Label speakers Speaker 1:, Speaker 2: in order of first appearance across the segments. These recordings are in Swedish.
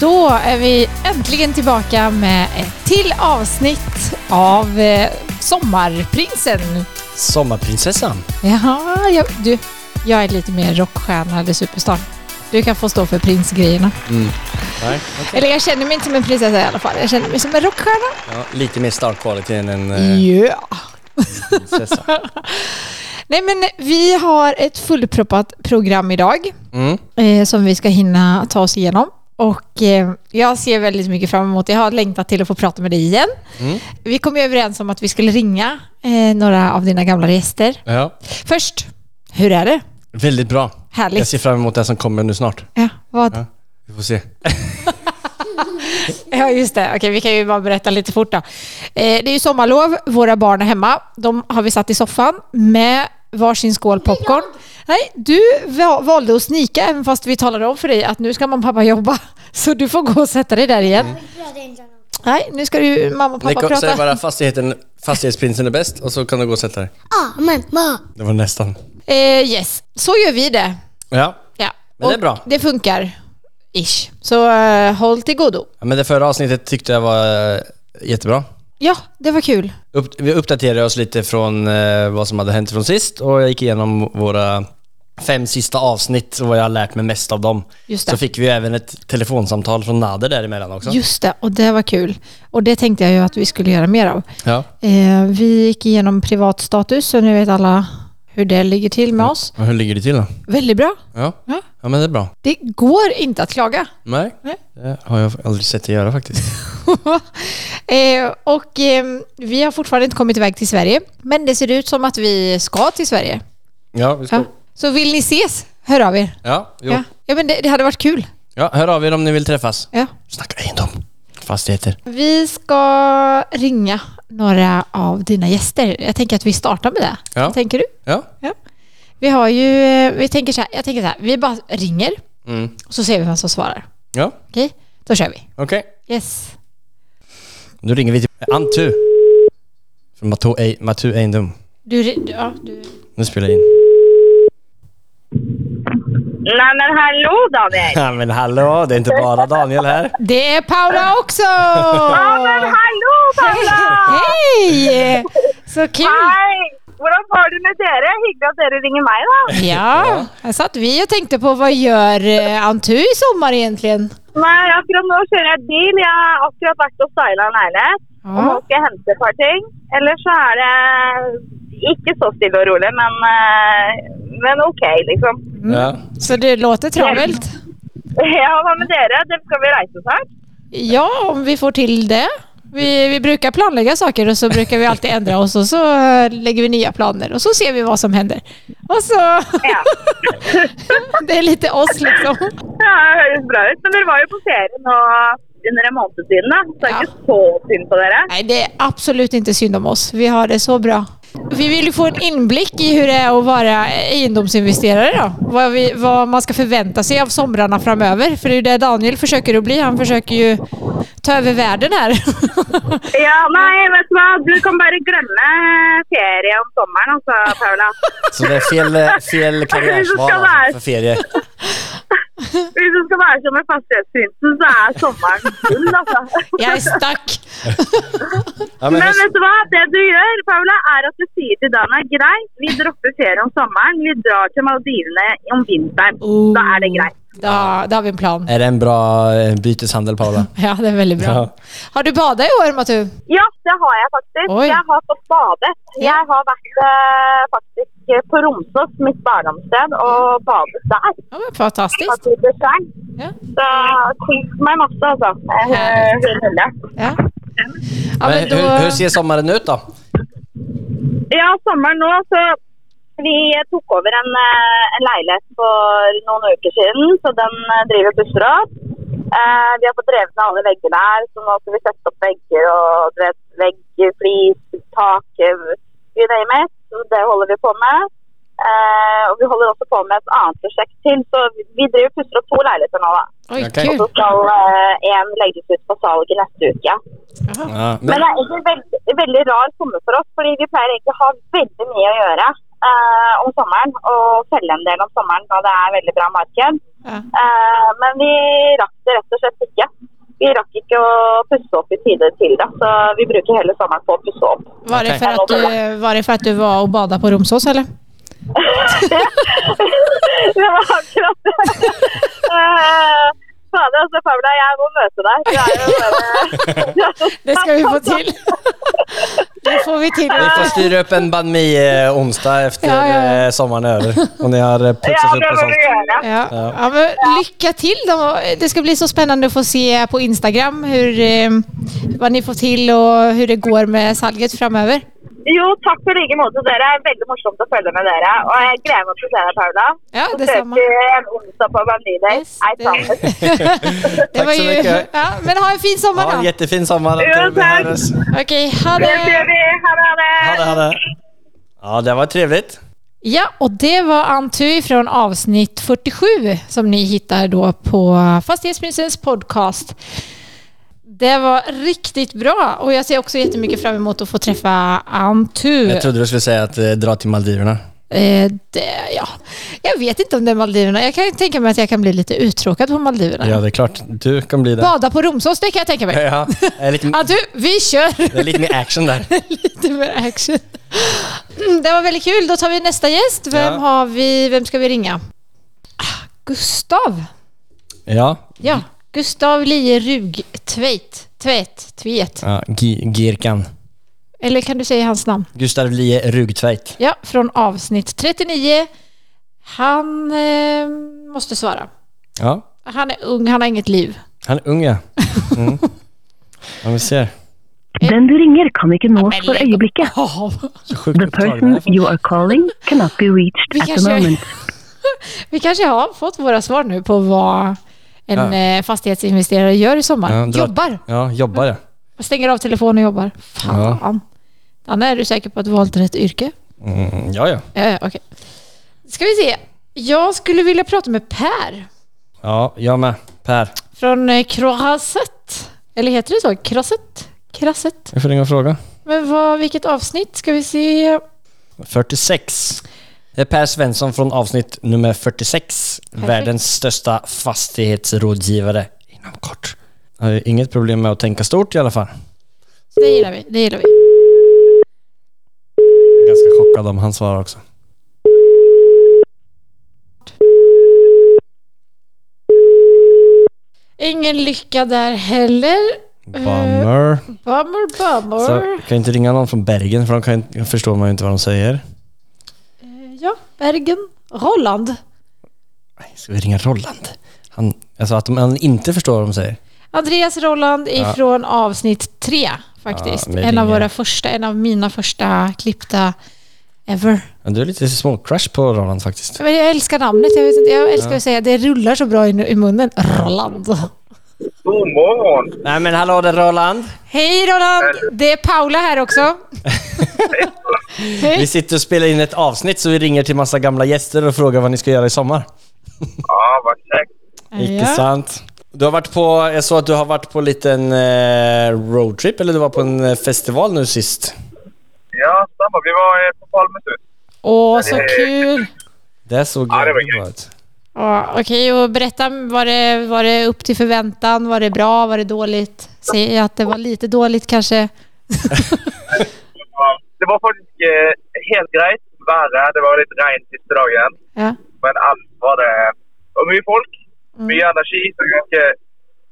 Speaker 1: då är vi äntligen tillbaka med ett till avsnitt av eh, Sommarprinsen.
Speaker 2: Sommarprinsessan.
Speaker 1: Ja, jag, du, jag är lite mer rockstjärna eller superstar. Du kan få stå för prinsgrejerna.
Speaker 2: Nej.
Speaker 1: Eller jag känner mig inte som en prinsessa i alla fall. Jag känner mig som en rockstjärna.
Speaker 2: Ja, lite mer star quality än en
Speaker 1: Ja.
Speaker 2: eh, prinsessa.
Speaker 1: Nej, men vi har ett fullproppat program idag
Speaker 2: Mm.
Speaker 1: eh, som vi ska hinna ta oss igenom. Och eh, jag ser väldigt mycket fram emot det. Jag har längtat till att få prata med dig igen.
Speaker 2: Mm.
Speaker 1: Vi kom ju överens om att vi skulle ringa eh, några av dina gamla gäster.
Speaker 2: Ja.
Speaker 1: Först, hur är det?
Speaker 2: Väldigt bra.
Speaker 1: Härligt.
Speaker 2: Jag ser fram emot det som kommer nu snart.
Speaker 1: Ja, vad? Ja.
Speaker 2: Ja. Vi får se.
Speaker 1: just det. Okej, vi kan ju bara berätta lite fort då. Eh, det är ju sommarlov, våra barn är hemma. De har vi satt i soffan med varsin skål popcorn. Nej, du va- valde att snika även fast vi talade om för dig att nu ska mamma och pappa jobba. Så du får gå och sätta dig där igen. Nej, nu ska du mamma och
Speaker 2: Mm. Ni
Speaker 1: pappa
Speaker 2: kom- Säg
Speaker 1: prata.
Speaker 2: bara fastigheten, fastighetsprinsen är bäst och så kan du gå och sätta dig.
Speaker 3: Amen. Ma.
Speaker 2: Det var nästan.
Speaker 1: Eh, yes, så gör vi det.
Speaker 2: Ja.
Speaker 1: Ja.
Speaker 2: Men det är
Speaker 1: Och
Speaker 2: bra.
Speaker 1: Det funkar. Ish. Så eh, håll till godo.
Speaker 2: ja. Men det förra avsnittet tyckte jag var eh, jättebra.
Speaker 1: Ja, det var kul.
Speaker 2: Upp, vi uppdaterade oss lite från eh, vad som hade hänt från sist och jag gick igenom våra fem sista avsnitt och vad jag har lärt mig mest av dem.
Speaker 1: Just det.
Speaker 2: så fick vi ju även ett telefonsamtal från Nader däremellan också.
Speaker 1: Just det, och det var kul. Och det tänkte jag ju att vi skulle göra mer av.
Speaker 2: Ja.
Speaker 1: Eh, vi gick igenom privatstatus, så nu vet alla hur det ligger till med oss.
Speaker 2: Men hur ligger det till då?
Speaker 1: Väldigt bra.
Speaker 2: Ja.
Speaker 1: Ja.
Speaker 2: ja, men det är bra.
Speaker 1: Det går inte att klaga.
Speaker 2: Nej,
Speaker 1: Nej.
Speaker 2: det har jag aldrig sett dig göra faktiskt.
Speaker 1: eh, och eh, vi har fortfarande inte kommit iväg till Sverige, men det ser ut som att vi ska till Sverige.
Speaker 2: Ja, vi
Speaker 1: Ja.
Speaker 2: ska...
Speaker 1: Så vill ni ses, hör av er.
Speaker 2: Ja, jo.
Speaker 1: Ja,
Speaker 2: ja.
Speaker 1: ja men det, det hade varit kul.
Speaker 2: hör av er om ni vill träffas.
Speaker 1: Ja.
Speaker 2: Snacka egendom. Fastigheter.
Speaker 1: Vi ska ringa några av dina gäster. Jag tänker att vi startar med det.
Speaker 2: Ja.
Speaker 1: Vad tänker du?
Speaker 2: Ja.
Speaker 1: Vi har ju, eh, vi tänker så här, jag tänker så här, vi bara ringer
Speaker 2: Mm.
Speaker 1: och så ser vi vem som svarar.
Speaker 2: Ja,
Speaker 1: Okej? Då kör vi.
Speaker 2: okej.
Speaker 1: Yes.
Speaker 2: Nu ringer vi till Antu. Från Matu, Ei- Matu Egendom.
Speaker 1: Du, ri- ja, du.
Speaker 2: Nu spelar jag in.
Speaker 4: Nej men hallå Daniel!
Speaker 2: Ja, men hallå, det är inte bara Daniel här.
Speaker 1: Det är Paula också!
Speaker 4: Ja men hallå Paula!
Speaker 1: Hej! Så kul!
Speaker 4: Hej! Hvordan har du med dere? Hyggelig at dere ringer meg, da.
Speaker 1: Ja, här satt vi och tänkte på vad gör eh, Antu i sommar egentligen?
Speaker 4: Nei, akkurat nå kjører jeg bil. Jeg har akkurat vært og styla en leilighet. Og nå
Speaker 1: Ja.
Speaker 4: skal jeg hente et par ting. Ellers så er det ikke så stille og rolig, men, eh, men OK, liksom.
Speaker 2: Ja.
Speaker 1: Så det låter travelt.
Speaker 4: Ja, hva med dere? Dere skal vel reise snart?
Speaker 1: Ja, om vi får till det. Vi, vi brukar planlägga saker och så brukar vi alltid ändra oss och så eh, lägger vi nya planer och så ser vi vad som händer. Och så...
Speaker 4: Ja.
Speaker 1: Det är lite oss liksom.
Speaker 4: ja, det høres bra ut. Men dere var jo på ferie nå under en måned siden, da. Så det er ikke så synd på dere.
Speaker 1: Nej, det är absolut inte synd om oss. Vi har det så bra. Vi vill ju få en inblick i hur det är att vara egendomsinvesterare då. Vad, vi, vad man ska förvänta sig av somrarna framöver. För det är ju det Daniel försöker att bli. Han försöker ju ta över världen här.
Speaker 4: Ja, nei, vet du hva? Du kan bare glemme ferie om sommeren, altså, Paula.
Speaker 2: Så det är fel, eh, fel karriärsval alltså, för ferie.
Speaker 4: Hvis du skal være som en fastighetsprinsen, så er sommeren gull, altså.
Speaker 1: Jag är stack.
Speaker 2: Ja, men
Speaker 4: Men
Speaker 2: höst,
Speaker 4: vet du hva? Det du gjør, Paula, er at du sier til Dana greit, vi dropper ferie om sommeren, vi drar til Maldivene om vinteren. Da er
Speaker 1: Oh.
Speaker 4: det greit.
Speaker 1: Ja, då har vi en plan.
Speaker 2: är det en bra eh, byteshandel Paula?
Speaker 1: Ja, det är väldigt bra.
Speaker 2: Ja.
Speaker 1: Har du badat i år, Matu?
Speaker 4: Ja, det har jeg faktisk.
Speaker 1: Oi.
Speaker 4: Jeg har fått badet.
Speaker 1: Ja.
Speaker 4: Jeg har vært eh, faktisk eh, på Romsås, mitt barndomssted, og badet der.
Speaker 1: Ja, men fantastiskt.
Speaker 4: Faktisk i sjøen.
Speaker 1: Ja.
Speaker 4: Så kost meg masse, altså. Eh, hun ville.
Speaker 1: Ja. Ja,
Speaker 2: Men,
Speaker 1: men då...
Speaker 2: hur, hur ser sommaren ut då?
Speaker 4: Ja, sommeren nå, så vi tok over en, eh, en leilighet for noen uker siden, så den eh, driver og pusser opp. Eh, vi har fått revet ned alle veggene her, så nå skal vi sette opp vegger og du vet, vegger, flis, tak, eh, you name it. Så det holder vi på med. Eh, og vi holder også på med et annet prosjekt til, så vi- vi driver og pusser opp to leiligheter nå, da.
Speaker 1: Oj,
Speaker 2: Okej.
Speaker 4: Så
Speaker 1: kul.
Speaker 4: skal én legges ut på salg i neste uke.
Speaker 2: Ja,
Speaker 4: Men
Speaker 2: men,
Speaker 4: det er egentlig en veldig, veldig rar sommer for oss, fordi vi pleier egentlig å ha veldig mye å gjøre eh, om sommeren. Og selge en del om sommeren da det er veldig bra marked.
Speaker 1: Ja.
Speaker 4: Eh, men vi rakk det rett og slett ikke. Vi rakk ikke å pusse opp i tide til det, så vi bruker hele sommeren på å pusse opp.
Speaker 1: Var, det
Speaker 2: Okej.
Speaker 1: för att du, var det för att du var och badade på Romsås eller?
Speaker 4: det var akkurat det. Eh, Fader, altså, Paula, jeg må møte deg. Du er jo bare
Speaker 1: Det ska vi få till. Det får vi till.
Speaker 2: vi får styra upp en banh mi-onsdag efter
Speaker 1: Ja, ja, ja.
Speaker 2: eh, sommaren är över. Och ni har eh,
Speaker 4: Ja,
Speaker 2: putsat
Speaker 4: det
Speaker 2: upp och
Speaker 4: må
Speaker 2: sånt.
Speaker 4: vi gjøre.
Speaker 1: Ja. Ja, men lycka till då. Det ska bli så spännande att få se på Instagram hur, eh, vad ni får till och hur det går med salget framöver.
Speaker 4: Jo, takk for like måte dere. Det er Veldig morsomt å følge med dere. Og jeg gleder meg til å se deg, Paula.
Speaker 1: Ja,
Speaker 4: Så
Speaker 1: det
Speaker 4: ses
Speaker 1: samme.
Speaker 4: vi en onsdag på Bandida.
Speaker 1: Yes,
Speaker 4: I
Speaker 1: det-
Speaker 4: promise.
Speaker 1: Det var
Speaker 2: så
Speaker 1: ju,
Speaker 2: mycket.
Speaker 1: ja, men ha en fin sommar
Speaker 2: Ha en
Speaker 1: då.
Speaker 2: jättefin sommar.
Speaker 4: Ja,
Speaker 2: Vi
Speaker 4: tack.
Speaker 2: hörs.
Speaker 1: Okej, ha
Speaker 4: Det gjør
Speaker 1: det!
Speaker 4: vi. Ha det, ha det.
Speaker 2: Ha det, ha det. Ja, det var trevligt.
Speaker 1: Ja, och det var Antu från avsnitt 47 som ni hittar då på Fastighetsprinsens podcast. Det var riktigt bra och jag ser också jättemycket fram emot att få träffa Antu.
Speaker 2: Jag trodde du skulle säga att eh, dra till Maldiverna.
Speaker 1: Eh, det, ja. Jag vet inte om det är Maldiverna. Jag kan ju tänka mig att jag kan bli lite uttråkad på Maldiverna.
Speaker 2: Ja, det är klart. Du kan bli det.
Speaker 1: Bada på Romsås, det kan jag tänka mig.
Speaker 2: Ja, eh, lite,
Speaker 1: Ja, du, vi kör
Speaker 2: det är lite mer action där.
Speaker 1: lite mer action. Mm, Det var väldigt kul. Då tar vi nästa gäst. Vem,
Speaker 2: Ja.
Speaker 1: har vi, vem ska vi ringa? Ah, Gustav.
Speaker 2: Ja,
Speaker 1: Ja, Gustav Lie Rug Tveit. Tveit. Tveit.
Speaker 2: ja Gi- Girkan.
Speaker 1: Eller kan du säga hans namn?
Speaker 2: Gustav Lie Rugtveit.
Speaker 1: Ja, från avsnitt 39. Han eh, måste svara.
Speaker 2: Ja,
Speaker 1: Han är ung, han har inget liv.
Speaker 2: han är ung ja. Mm. Ja, vi ser.
Speaker 1: Eh,
Speaker 3: Den du ringer kan ikke nås
Speaker 1: men
Speaker 3: for
Speaker 1: legg
Speaker 3: øyeblikket.
Speaker 2: Så sjukt
Speaker 3: The person
Speaker 2: upptagen.
Speaker 3: you are calling cannot be reached
Speaker 1: Vi
Speaker 3: at the
Speaker 1: kanske-
Speaker 3: moment.
Speaker 1: Vi kanske har fått våra svar nu på vad en
Speaker 2: Ja.
Speaker 1: eh, fastighetsinvesterare gör i sommar.
Speaker 2: Ja, dra-
Speaker 1: Jobbar.
Speaker 2: Ja, jobbar ja.
Speaker 1: Stänger av telefonen och jobbar. Fan. Anna, är du säker på att du valt rätt yrke?
Speaker 2: Mm, ja, ja.
Speaker 1: Ja, ja, okej. Ska vi se. Jag skulle vilja prata med Per
Speaker 2: Ja, jag med. Per.
Speaker 1: från eh, Krasset. Eller heter det så? Krasset? Krasset.
Speaker 2: Vi får ringa och fråga.
Speaker 1: Men vad, vilket avsnitt ska vi se?
Speaker 2: 46. Det är Per Svensson från avsnitt nummer 46. Världens största fastighetsrådgivare inom kort. Jag har ju inget problem med att tänka stort i alla fall.
Speaker 1: Det gillar vi. Det gillar vi.
Speaker 2: Jag är ganska chockad om han svarar också.
Speaker 1: Ingen lycka där heller.
Speaker 2: Bummer.
Speaker 1: Bummer, bummer.
Speaker 2: Så kan jag inte ringa någon från Bergen för de kan, jag förstår man ju inte vad de säger.
Speaker 1: Ja, Bergen. Rolland.
Speaker 2: Ska vi ringa Roland? Han, jag sa att de, han inte förstår vad de säger.
Speaker 1: Andreas Rolland ifrån avsnitt tre faktiskt.
Speaker 2: Ja, vi
Speaker 1: en av
Speaker 2: ringer.
Speaker 1: våra första, en av mina första klippta ever.
Speaker 2: Men du är lite småcrush på Roland faktiskt.
Speaker 1: Men jag älskar namnet, jag, vet inte, jag älskar att säga det rullar så bra i, i munnen. Rolland.
Speaker 5: God morgon!
Speaker 2: Nej men hallå där Roland!
Speaker 1: Hej Rolland! Det är Paula här också.
Speaker 2: Vi sitter och spelar in ett avsnitt så vi ringer till massa gamla gäster och frågar vad ni ska göra i sommar.
Speaker 5: Ja, vad käckt.
Speaker 2: Icke sant. Du har varit på, jag såg att du har varit på en liten eh, roadtrip, eller du var på en eh, festival nu sist.
Speaker 5: Ja, samma. Vi var eh, på Palmes hus.
Speaker 1: Åh, så kul!
Speaker 2: Det såg
Speaker 5: Ja, det var
Speaker 2: jävligt bra ut.
Speaker 1: Ja, Okej, och berätta, var det, var det upp till förväntan? Var det bra? Var det dåligt? Säg att det var lite dåligt kanske.
Speaker 5: Det var, det var faktisk eh, helt greit været. Det var litt regn siste dagen,
Speaker 1: Ja.
Speaker 5: men ellers var det det var mye folk, mye energi og ganske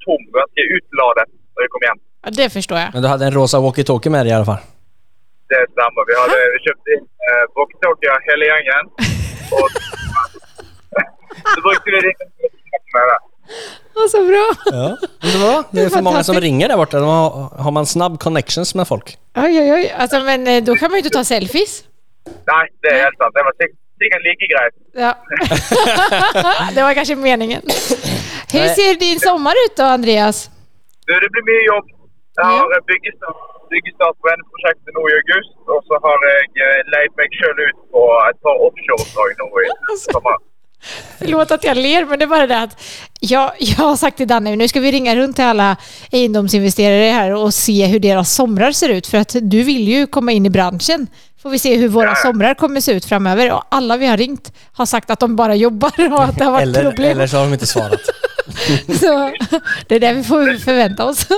Speaker 5: tom, ganske utladet når vi kom hjem.
Speaker 1: ja, det förstår jag.
Speaker 2: Men du hade en rosa walkie-talkie med dig i alla fall.
Speaker 5: Det stemmer. Vi hadde vi kjøpt inn eh, walkietalkier hele gjengen. Og så brukte vi det med det.
Speaker 1: Ja, så bra!
Speaker 2: Ja. Det, var, det är för många som
Speaker 1: fantastiskt.
Speaker 2: ringer där borta. De har, har man snabb connections med folk?
Speaker 1: Oj, oj, oj. Alltså, men eh, då kan man ju inte ta selfies.
Speaker 5: Nei, det er helt sant. Det var sik- sikkert like greit.
Speaker 1: Ja. det var kanske meningen. Hur
Speaker 2: Nej.
Speaker 1: ser din sommar ut då, Andreas?
Speaker 5: Nu det blir mye jobb. Jeg
Speaker 1: Ja.
Speaker 5: har eh, byggestart, byggestart på denne prosjektet nå i august, og så har jeg eh, leid meg sjøl ut på et par offshoreoppdrag nå i sommer.
Speaker 1: Förlåt att jag ler, men det är bara det att jag, jag har sagt till Danne, nu ska vi ringa runt till alla egendomsinvesterare här och se hur deras somrar ser ut. För att du vill ju komma in i branschen. Får vi se hur våra somrar kommer se ut framöver. Och alla vi har ringt har sagt att de bara jobbar och att det har varit
Speaker 2: Eller,
Speaker 1: problem.
Speaker 2: eller så har de inte svarat.
Speaker 1: Så det är det vi får förvänta oss.
Speaker 5: Det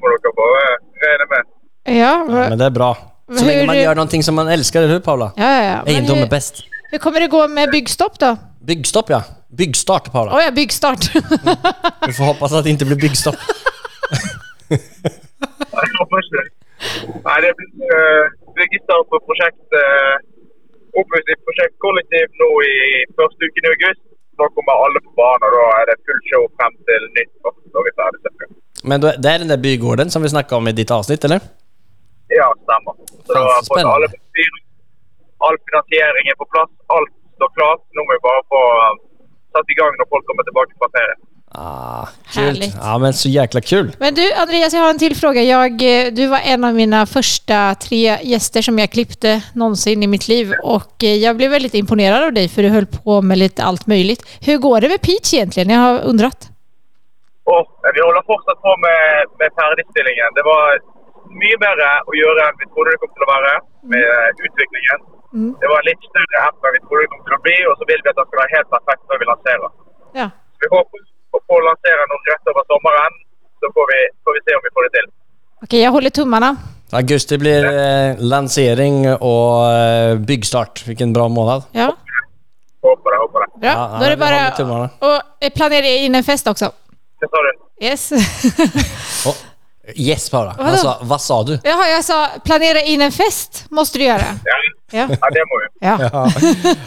Speaker 5: må dere bare regne eh, med.
Speaker 1: Ja,
Speaker 2: Ja, men det är bra. Så
Speaker 1: Hur-
Speaker 2: länge man gör någonting som man älskar, eller hur Paula?
Speaker 1: ja, ja, ja. Men
Speaker 2: Egendom är
Speaker 1: hur,
Speaker 2: bäst.
Speaker 1: hur kommer det gå med byggstopp då?
Speaker 2: Byggstopp ja. Byggstart Paula.
Speaker 1: Oj, ja, byggstart.
Speaker 2: Vi får hoppas att det inte blir byggstopp.
Speaker 5: Jeg håper ikke det. Nei, det blir eh, byggestart på prosjekt eh, oppussing Prosjekt Kollektiv nå i første uken i august. Da kommer alle på banen, og da er det full show frem til nytt. år, når vi er ferdig, cirka.
Speaker 2: Men då- det är den där bygården som vi snackade om i ditt avsnitt, eller?
Speaker 5: Ja, stemmer. Så
Speaker 2: Fan,
Speaker 5: da
Speaker 2: så
Speaker 5: har fått
Speaker 2: spennende.
Speaker 5: alle styr- All finansiering er på plass, alt står klart. Nå må vi bare få eh, satt i gang når folk kommer tilbake fra ferie.
Speaker 2: Ah,
Speaker 1: Härligt.
Speaker 2: Ja, men så jäkla kul.
Speaker 1: Men du Andreas, jag har en till fråga. Jag, eh, du var en av mina första tre gäster som jag klippte någonsin i mitt liv och eh, jag blev väldigt imponerad av dig för du höll på med lite allt möjligt. Hur går det med Peach egentligen? Jag har undrat.
Speaker 5: Og eh, vi holder fortsatt på med, med ferdigstillingen. Det var mye bedre å gjøre enn vi trodde det kom til å være med eh, utviklingen. Det var en litt større app enn vi trodde det kom til å bli, og så vil vi at den skal være helt perfekt før vi lanserer.
Speaker 1: Ja.
Speaker 5: Så vi håper å få lansere noen rett over sommeren, så får vi, får vi se om vi får det til.
Speaker 1: Okej, jag håller tummarna.
Speaker 2: Augusti blir eh, lansering och eh, byggstart. Vilken bra månad.
Speaker 1: Ja,
Speaker 5: Håper det, håper det.
Speaker 1: bra.
Speaker 2: Ja,
Speaker 1: Då är det
Speaker 2: ja, vi håller
Speaker 1: bara
Speaker 2: tummarna.
Speaker 1: och eh, planera in en fest också.
Speaker 5: Hva sa du?
Speaker 1: Yes.
Speaker 2: Oh, yes Paula.
Speaker 1: Vadå?
Speaker 2: Han sa, vad sa du?
Speaker 1: Jaha, jag sa planera in en fest måste du göra.
Speaker 5: Ja,
Speaker 1: Ja.
Speaker 5: ja det må vi.
Speaker 1: Ja.
Speaker 2: Ja,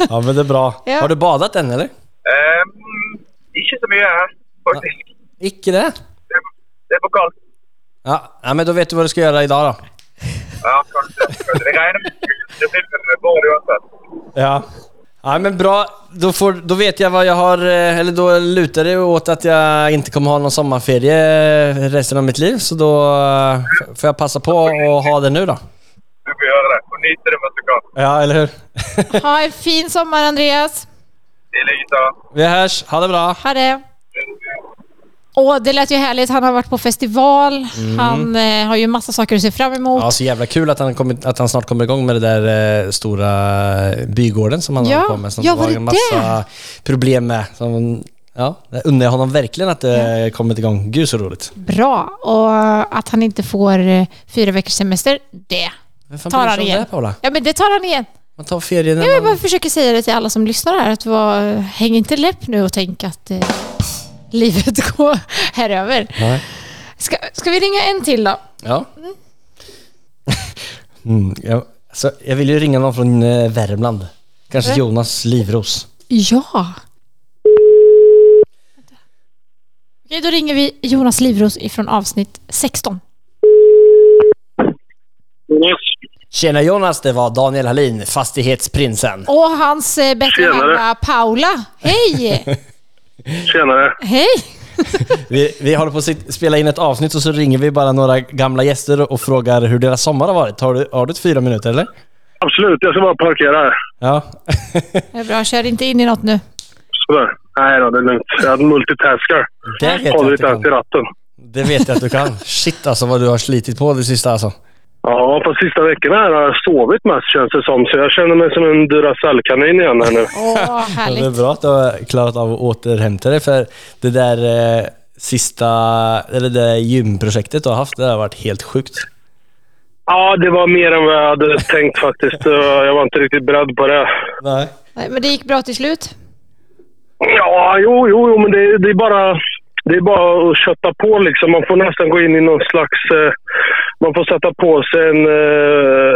Speaker 2: ja men det är bra.
Speaker 1: Ja.
Speaker 2: Har du badat än eller?
Speaker 5: Ehm, ikke så mye her, faktisk.
Speaker 2: Icke det?
Speaker 5: Det er, det er for kaldt.
Speaker 2: Ja, ja, men då vet du vad du ska göra idag då.
Speaker 5: Ja, kanskje. kanskje. Det regner med det blir vel vår uansett.
Speaker 2: Ja. Ja men bra, då, får, då vet jag vad jag har, eh, eller då lutar det åt att jag inte kommer ha någon sommarferie eh, resten av mitt liv. Så då eh, f- får jag passa på och ha det nu då.
Speaker 5: Du får gjøre det. Og nyte det mens du kan.
Speaker 2: Ja, eller hur?
Speaker 1: Ha en fin sommar Andreas.
Speaker 5: I like så.
Speaker 2: Vi hörs, ha det bra!
Speaker 1: Ha det. Åh, det lät ju härligt. Han har varit på festival. Han eh, har ju massa saker att se fram emot.
Speaker 2: Mm. Ja, så jävla kul att han, kommit, att han snart kommer igång med det där eh, stora eh, bygården som han
Speaker 1: Ja,
Speaker 2: håller på med. Som
Speaker 1: ja,
Speaker 2: det var
Speaker 1: var det
Speaker 2: en massa problem med. Som, ja, det undrar jag honom verkligen att det kommit igång. Gud så roligt.
Speaker 1: Bra. Och att han inte får eh, fyra veckors semester, det
Speaker 2: Vem fan
Speaker 1: tar
Speaker 2: bryr sig
Speaker 1: han
Speaker 2: om
Speaker 1: igen.
Speaker 2: Det, Paula?
Speaker 1: ja, men det tar han igen.
Speaker 2: Man tar ferien när
Speaker 1: Jag
Speaker 2: man...
Speaker 1: bara försöker säga det till alla som lyssnar här. Att var, häng inte läpp nu och tänk att eh, livet går häröver.
Speaker 2: Nej.
Speaker 1: Ska, ska vi ringa en till då?
Speaker 2: Ja. Mm, jag, alltså, jag vill ju ringa någon från eh, Värmland. Kanske Jonas Livros.
Speaker 1: Ja. Okej, då ringer vi Jonas Livros ifrån avsnitt 16.
Speaker 2: Tjena Jonas, det var Daniel Hallin, fastighetsprinsen.
Speaker 1: Och hans eh, bättre
Speaker 6: Tjenare.
Speaker 1: halva Paula. Hej!
Speaker 6: Tjenare.
Speaker 1: Hej!
Speaker 2: Vi, vi håller på att sit- spela in ett avsnitt och så ringer vi bara några gamla gäster och frågar hur deras sommar har varit. Har du, har du ett fyra minuter eller?
Speaker 6: Absolut, jag ska bara parkera här.
Speaker 2: Ja.
Speaker 1: Det är bra, kör inte in i något nu.
Speaker 6: Sådär. Nej då, det är lugnt. Jag multitaskar.
Speaker 2: det, vet jag
Speaker 6: Håller
Speaker 2: att
Speaker 6: inte
Speaker 2: du
Speaker 6: ens i
Speaker 2: kan.
Speaker 6: ratten.
Speaker 2: det vet jag att du kan. Shit alltså vad du har slitit på det sista alltså.
Speaker 6: Ja, på sista veckorna här har jag sovit mest känns det som. Så jag känner mig som en Duracell-kanin igen här nu.
Speaker 1: Åh,
Speaker 2: Ja, det är
Speaker 1: härligt.
Speaker 2: bra att du har klarat av att återhämta dig för det där eh, sista, eller det där gymprojektet du har haft, det har varit helt sjukt.
Speaker 6: Ja, det var mer än vad jag hade tänkt faktiskt. Eh, Jag var inte riktigt beredd på det.
Speaker 2: Nej.
Speaker 1: Nej, men det gick bra till slut.
Speaker 6: Ja, jo, jo, jo, men det, det är bara... Det är bara att kötta på liksom. Man får nästan gå in i någon slags... Eh, man får sätta på sig en... Eh,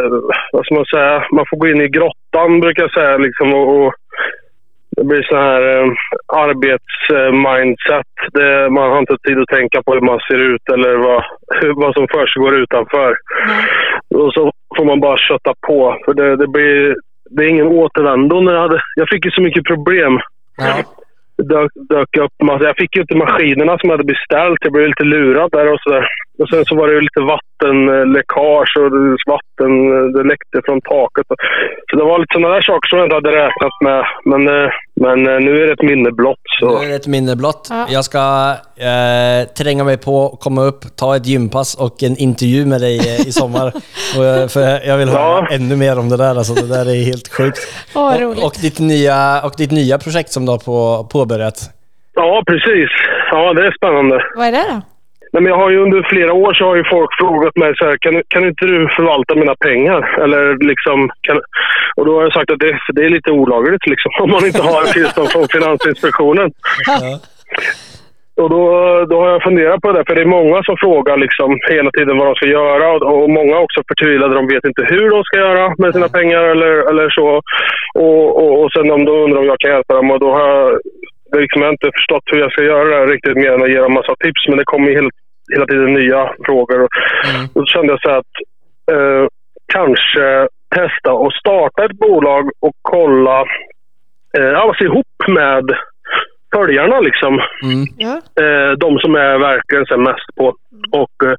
Speaker 6: vad ska man säga? Man får gå in i grottan brukar jag säga liksom och... och det blir så här eh, arbetsmindset. Det, man har inte tid att tänka på hur man ser ut eller vad, hur, vad som försiggår utanför. Och så får man bara kötta på. För det, det, blir, det är ingen återvändo. När jag, hade, jag fick ju så mycket problem.
Speaker 2: Ja.
Speaker 6: dök, dök jag upp massa. Jag fick ju inte maskinerna som jag hade beställt. Jag blev lite lurad där och sådär. Och sen så var det ju lite vattenläckage och det- vatten det läckte från taket. Så det var lite sådana där saker som jag inte hade räknat med. Men, eh, men eh, nu är det ett minne blott. Så.
Speaker 2: Nu är det ett minne blott.
Speaker 1: Ja.
Speaker 2: Jag ska eh, tränga mig på, komma upp, ta ett gympass och en intervju med dig eh, i sommar. och jag, för jag vill höra ännu mer om det där. Alltså, det där är helt sjukt.
Speaker 1: Åh, vad roligt.
Speaker 2: och, och, ditt nya, och ditt nya projekt som du har på, påbörjat.
Speaker 6: Ja, precis. Ja, det är spännande.
Speaker 1: Vad är det då?
Speaker 6: Nej, men jag har ju under flera år så har ju folk frågat mig så här, kan, kan inte du förvalta mina pengar? Eller liksom, kan, och då har jag sagt att det, det är lite olagligt liksom, om man inte har tillstånd från Finansinspektionen. Och då, då har jag funderat på det där, för det är många som frågar liksom hela tiden vad de ska göra och, och många också förtvivlade, de vet inte hur de ska göra med sina pengar eller, eller så. Och, och, och sen om de undrar om jag kan hjälpa dem och då har jag liksom, jag har inte förstått hur jag ska göra det här riktigt mer än att ge dem massa tips, men det kommer ju hela, hela tiden nya frågor. Och, och då kände jag så här att eh, kanske testa att starta ett bolag och kolla, eh, ja, se ihop med följarna liksom
Speaker 1: Ja.
Speaker 6: eh, de som är verkligen så här mest på. Och, eh,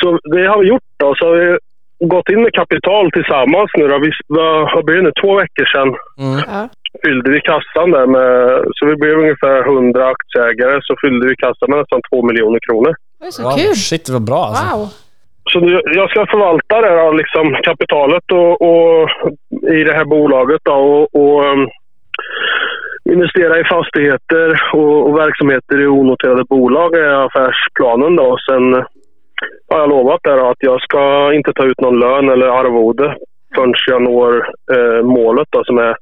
Speaker 6: så det har vi gjort. Då. Så har vi gått in med kapital tillsammans nu. Då. Vi, vad blir det nu? Två veckor sedan
Speaker 1: Ja.
Speaker 6: fyllde vi kassan där med, så vi blev ungefär 100 aktieägare, så fyllde vi kassan med nästan 2 miljoner kronor.
Speaker 1: Det är så
Speaker 2: Wow,
Speaker 1: kul.
Speaker 2: shit vad bra alltså.
Speaker 1: Wow.
Speaker 6: Så nu, jag ska förvalta det här, liksom, kapitalet och, och, i det här bolaget då, och, och ehm, investera i fastigheter och, och verksamheter i onoterade bolag är affärsplanen. Då. Sen har jag lovat där då, att jag ska inte ta ut någon lön eller arvode förrän jag når eh, målet då, som är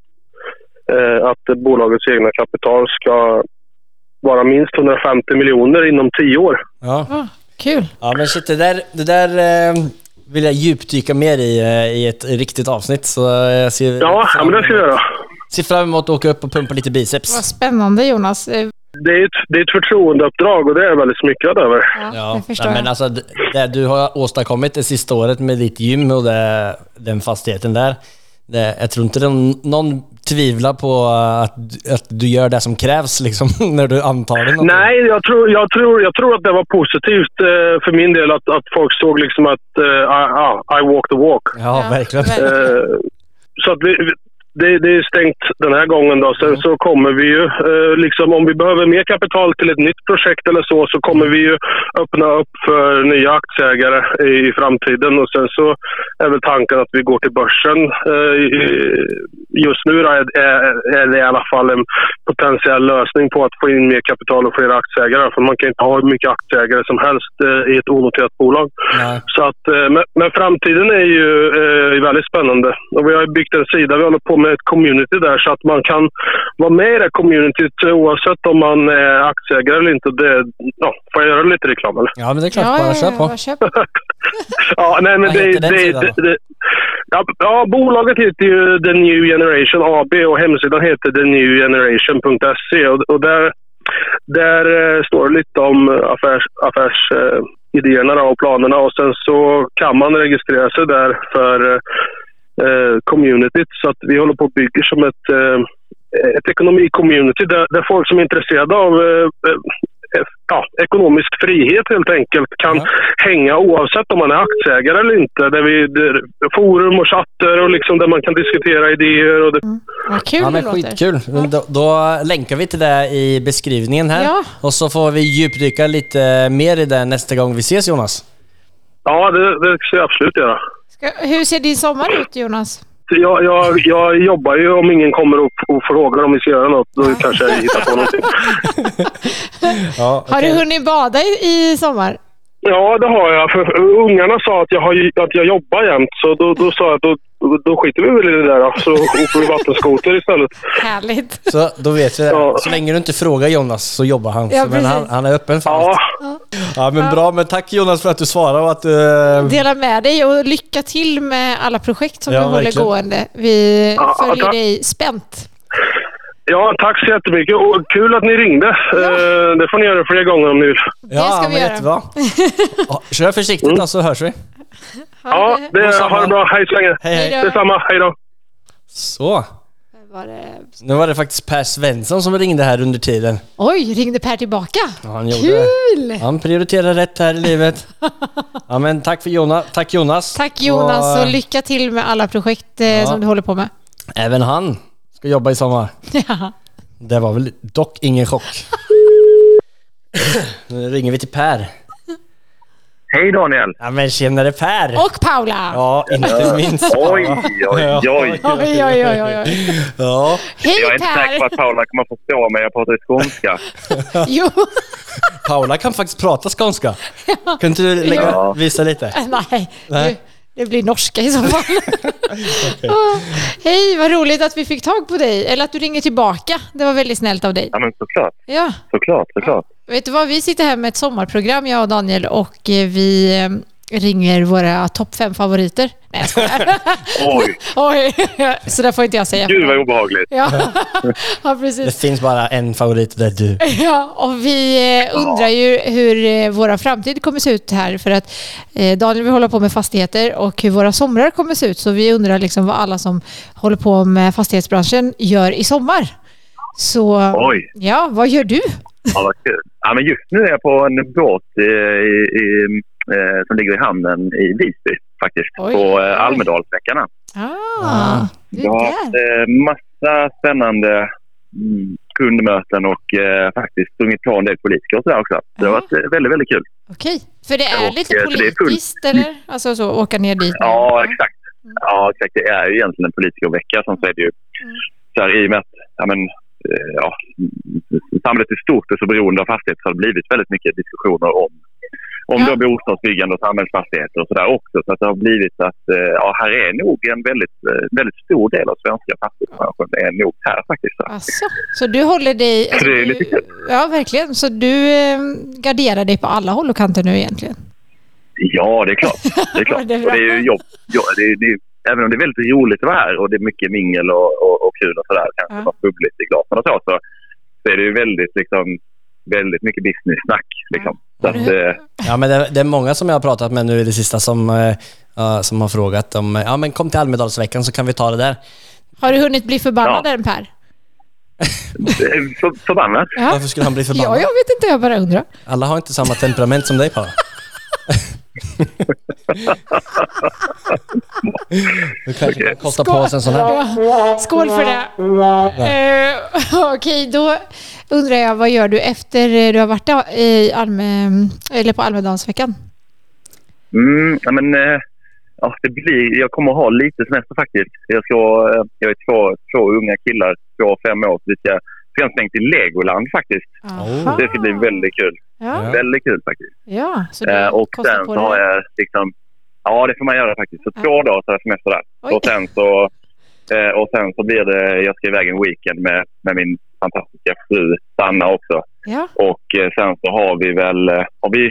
Speaker 6: eh, att bolagets egna kapital ska vara minst 150 miljoner inom 10 år.
Speaker 2: Ja.
Speaker 1: Ja, kul.
Speaker 2: Ja men shit, det där, det där eh, vill jag djupdyka mer i, eh, i ett riktigt avsnitt. Så eh, jag ser,
Speaker 6: Ja, ja men det ska jag göra.
Speaker 2: ser fram emot att åka upp och pumpa lite
Speaker 1: Vad
Speaker 2: biceps.
Speaker 1: spännande Jonas. Eh,
Speaker 6: det är, ett, det är ett förtroendeuppdrag och det är jag väldigt smickrad över.
Speaker 1: Ja,
Speaker 2: Ja,
Speaker 1: det förstår
Speaker 2: nej, men
Speaker 1: jag.
Speaker 2: alltså det, det du har åstadkommit det sista året med ditt gym och det, den fastigheten där. Det, jag tror inte någon, någon tvivlar på eh, att, du- att du gör det som krävs liksom, när du antar det.
Speaker 6: Nej, jag tror, jag, tror, jag tror att det var positivt eh, för min del att, att folk såg liksom att eh, I, ah, I walk the walk.
Speaker 2: Ja, verkligen.
Speaker 6: Eh, så att vi, vi- det, det är stängt den här gången. Då. Sen så kommer vi ju, eh, liksom, om vi behöver mer kapital till ett nytt projekt eller så, så kommer vi ju öppna upp för nya aktieägare i, i framtiden. Och sen så är väl tanken att vi går till börsen. Eh, i- just nu då är, är, är det i alla fall en potentiell lösning på att få in mer kapital och fler aktieägare. För man kan inte ha hur mycket aktieägare som helst eh, i ett onoterat bolag.
Speaker 2: Nej.
Speaker 6: Så att, eh, men, men framtiden är ju eh, väldigt spännande. Och vi har ju byggt en sida, vi håller på med ett community där så att man kan vara med i det här communityt eh, oavsett om man är aktieägare eller inte. Det, ja, får jag göra lite reklam eller?
Speaker 2: Ja, men det är klart.
Speaker 1: Ja,
Speaker 2: bara
Speaker 1: ja,
Speaker 2: alltså, kör
Speaker 1: ja,
Speaker 2: på.
Speaker 1: bara kör på.
Speaker 6: Ja, nej, men
Speaker 2: Vad
Speaker 6: det,
Speaker 2: heter den
Speaker 6: det,
Speaker 2: sidan
Speaker 6: det,
Speaker 2: då?
Speaker 6: det, ja, ja, bolaget heter ju The New Generation AB och hemsidan heter thenewgeneration.se E och, och där, där eh, står det lite om affärs, affärs eh, idéerna då och planerna och sen så kan man registrera sig där för eh, eh, communityt så att vi håller på och bygger som ett, eh, ett ekonomi-community där, där folk som är intresserade av eh, eh, ja, ekonomisk frihet helt enkelt kan
Speaker 2: Ja.
Speaker 6: hänga oavsett om man är aktieägare eller inte. Där vi, där, forum och chatter och liksom där man kan diskutera idéer. Och det,
Speaker 1: Vad kul
Speaker 2: Ja,
Speaker 1: det
Speaker 2: men
Speaker 1: låter.
Speaker 2: skitkul. Men Då, då länkar vi till det i beskrivningen här.
Speaker 1: Ja.
Speaker 2: Och så får vi djupdyka lite mer i det nästa gång vi ses Jonas.
Speaker 6: ja, det, det ska jag absolut göra.
Speaker 1: Ska, hur ser din sommar ut Jonas?
Speaker 6: Jag, jag, jag jobbar ju om ingen kommer och, och frågar om vi ska göra något. Då kanske jag hittar på någonting.
Speaker 2: Ja,
Speaker 1: Har du hunnit bada i, i sommar?
Speaker 6: Ja, det har jag. För ungarna sa att jag, har, ju- att jag jobbar jämt, så då, då sa jag att då, då skiter vi väl i det där då. Så åker vi vattenskoter istället.
Speaker 1: Härligt.
Speaker 2: Så då vet vi det.
Speaker 6: Ja.
Speaker 2: Så länge du inte frågar Jonas så jobbar han.
Speaker 1: Ja,
Speaker 2: Så- men han,
Speaker 1: precis.
Speaker 2: han är öppen för
Speaker 6: Ja,
Speaker 2: allt. Ja, men bra. Men tack Jonas för att du svarade och att eh, du...
Speaker 1: Dela med dig och lycka till med alla projekt som
Speaker 2: Ja,
Speaker 1: du håller
Speaker 2: verkligen.
Speaker 1: gående. Vi
Speaker 6: Ja,
Speaker 1: följer
Speaker 6: tack.
Speaker 1: dig spänt.
Speaker 6: ja, tack så jättemycket. Och kul att ni ringde. Eh, det får ni göra fler gånger om ni vill.
Speaker 1: det ska vi
Speaker 2: men
Speaker 1: göra.
Speaker 2: jättebra. Ja, Kör försiktigt då så hörs vi.
Speaker 6: Ja, det,
Speaker 2: Detsamma.
Speaker 6: ha det bra. Hej så länge.
Speaker 2: Hej hej.
Speaker 1: Hej då.
Speaker 6: Detsamma. Hej då.
Speaker 2: Så.
Speaker 1: var det...
Speaker 2: Nu var det faktiskt Per Svensson som ringde här under tiden.
Speaker 1: Oj, ringde Per tillbaka?
Speaker 2: Ja, han gjorde
Speaker 1: Kul!
Speaker 2: det. Han prioriterar rätt här i livet. Ja, men tack, för Jonas. tack Jonas.
Speaker 1: Tack Jonas och lycka till med alla projekt eh, som du håller på med.
Speaker 2: Även han ska jobba i sommar. Det var väl dock ingen chock. nu ringer vi till Per.
Speaker 5: Hej Daniel!
Speaker 2: Ja men tjenare Per!
Speaker 1: Och Paula!
Speaker 2: Ja, inte minst.
Speaker 5: Oj, oj, oj!
Speaker 1: Oj, oj, oj, oj, oj.
Speaker 2: Ja.
Speaker 5: Jag är
Speaker 1: Hej
Speaker 5: inte säker på
Speaker 1: Per!
Speaker 5: att Paula kommer förstå mig. Jag pratar skånska.
Speaker 1: Jo,
Speaker 2: Paula kan faktiskt prata skånska. Kan inte du lägga,
Speaker 5: Ja.
Speaker 2: visa lite?
Speaker 1: nej.
Speaker 2: Nej.
Speaker 1: Du, det blir norska i så fall. Ah, Hej, vad roligt att vi fick tag på dig. Eller att du ringer tillbaka. Det var väldigt snällt av dig.
Speaker 5: Ja, men såklart,
Speaker 1: Ja,
Speaker 5: såklart, såklart.
Speaker 1: vet du vad? Vi sitter här med ett sommarprogram, jag och Daniel, och eh, vi eh, ringer våra topp fem favoriter. Nej, jag skojar.
Speaker 5: Oj,
Speaker 1: Oj, så där får inte jag säga.
Speaker 5: gud vad obehagligt.
Speaker 1: Ja, ja
Speaker 2: Det
Speaker 1: precis.
Speaker 2: finns bara en favorit, det är du.
Speaker 1: Ja, och vi eh, undrar ju hur eh, våra framtid kommer se ut här för att eh, Daniel vill hålla på med fastigheter och hur våra somrar kommer se ut. Så vi undrar liksom vad alla som håller på med fastighetsbranschen gör i sommar. Så
Speaker 5: Oj.
Speaker 1: ja, vad gör du?
Speaker 5: Ja, vad kul. Ja, men just nu är jag på en båt eh, i, i, eh, som ligger i hamnen i Visby faktiskt.
Speaker 1: Oj.
Speaker 5: På eh, Almedalsveckan.
Speaker 1: Ah, du
Speaker 5: Jag har
Speaker 1: är
Speaker 5: haft
Speaker 1: där.
Speaker 5: eh, massa spännande mm, kundmöten och eh, faktiskt sprungit på en del politiker och sådär också. Så det har varit eh, väldigt, väldigt kul.
Speaker 1: Okej, för det är
Speaker 5: Och,
Speaker 1: lite
Speaker 5: eh, så det är fullt.
Speaker 1: politiskt eller? Alltså så, åka ner dit.
Speaker 5: Ja, exakt. Ja, exakt. Det är ju egentligen en politikervecka. Sen så är det ju så här, i och med att ja, men, eh, ja, samhället i stort är så beroende av fastigheter så har det blivit väldigt mycket diskussioner om om
Speaker 1: Ja.
Speaker 5: då bostadsbyggande och samhällsfastigheter och sådär också. Så att det har blivit att eh, ja, här är nog en väldigt, eh, väldigt stor del av svenska fastighetsbranschen är nog här faktiskt. Så.
Speaker 1: Alltså, så du håller dig... Alltså,
Speaker 5: det är lite
Speaker 1: du, ja, verkligen. Så du eh, garderar dig på alla håll och kanter nu egentligen?
Speaker 5: Ja, det är klart. Det är klart.
Speaker 1: Ja, det är
Speaker 5: och det är
Speaker 1: bra.
Speaker 5: ju jobb. Ja, det är, det är, även om det är väldigt roligt att vara här och det är mycket mingel och, och, och kul och sådär, kanske
Speaker 1: Ja.
Speaker 5: något bubbligt i glasen och så, så, så är det ju väldigt, liksom, väldigt mycket business-snack. Liksom. Så att, eh,
Speaker 2: Ja, men det, det är många som jag har pratat med nu i det sista som, eh, ja, som har frågat om, eh, ja men kom till Almedalsveckan så kan vi ta det där.
Speaker 1: Har du hunnit bli förbannad än Per?
Speaker 5: för, förbannat.
Speaker 1: Ja.
Speaker 2: Varför skulle han bli
Speaker 1: Ja,
Speaker 2: förbannad?
Speaker 1: jag vet inte. Jag bara undrar.
Speaker 2: Alla har inte samma temperament som dig Paula. Du kanske kan kosta på oss en sån här.
Speaker 1: Ja. Skål för det. Eh, Okej, då undrar jag vad gör du efter eh, du har varit där i Alme, eller på Almedalsveckan?
Speaker 5: Mm, ja, men, eh, ja, det blir, jag kommer ha lite semester faktiskt. Jag, ska, eh, jag är två, två unga killar, två och fem år, så vi ska vi ska till Legoland faktiskt.
Speaker 1: Aha.
Speaker 5: Oh. Det ska bli väldigt kul.
Speaker 1: Ja,
Speaker 5: Väldigt kul faktiskt.
Speaker 1: ja. så du
Speaker 5: Eh, och
Speaker 1: kostar
Speaker 5: sen
Speaker 1: på
Speaker 5: så har
Speaker 1: dig-
Speaker 5: jag liksom... Ja, det får man göra faktiskt. Så
Speaker 1: Ja.
Speaker 5: två dagar så har jag semester där.
Speaker 1: Oj.
Speaker 5: Och sen så... Eh, och sen så blir det... Jag ska iväg en weekend med, med min fantastiska fru Sanna också.
Speaker 1: Ja,
Speaker 5: Och eh, sen så har vi väl... eh, Har vi,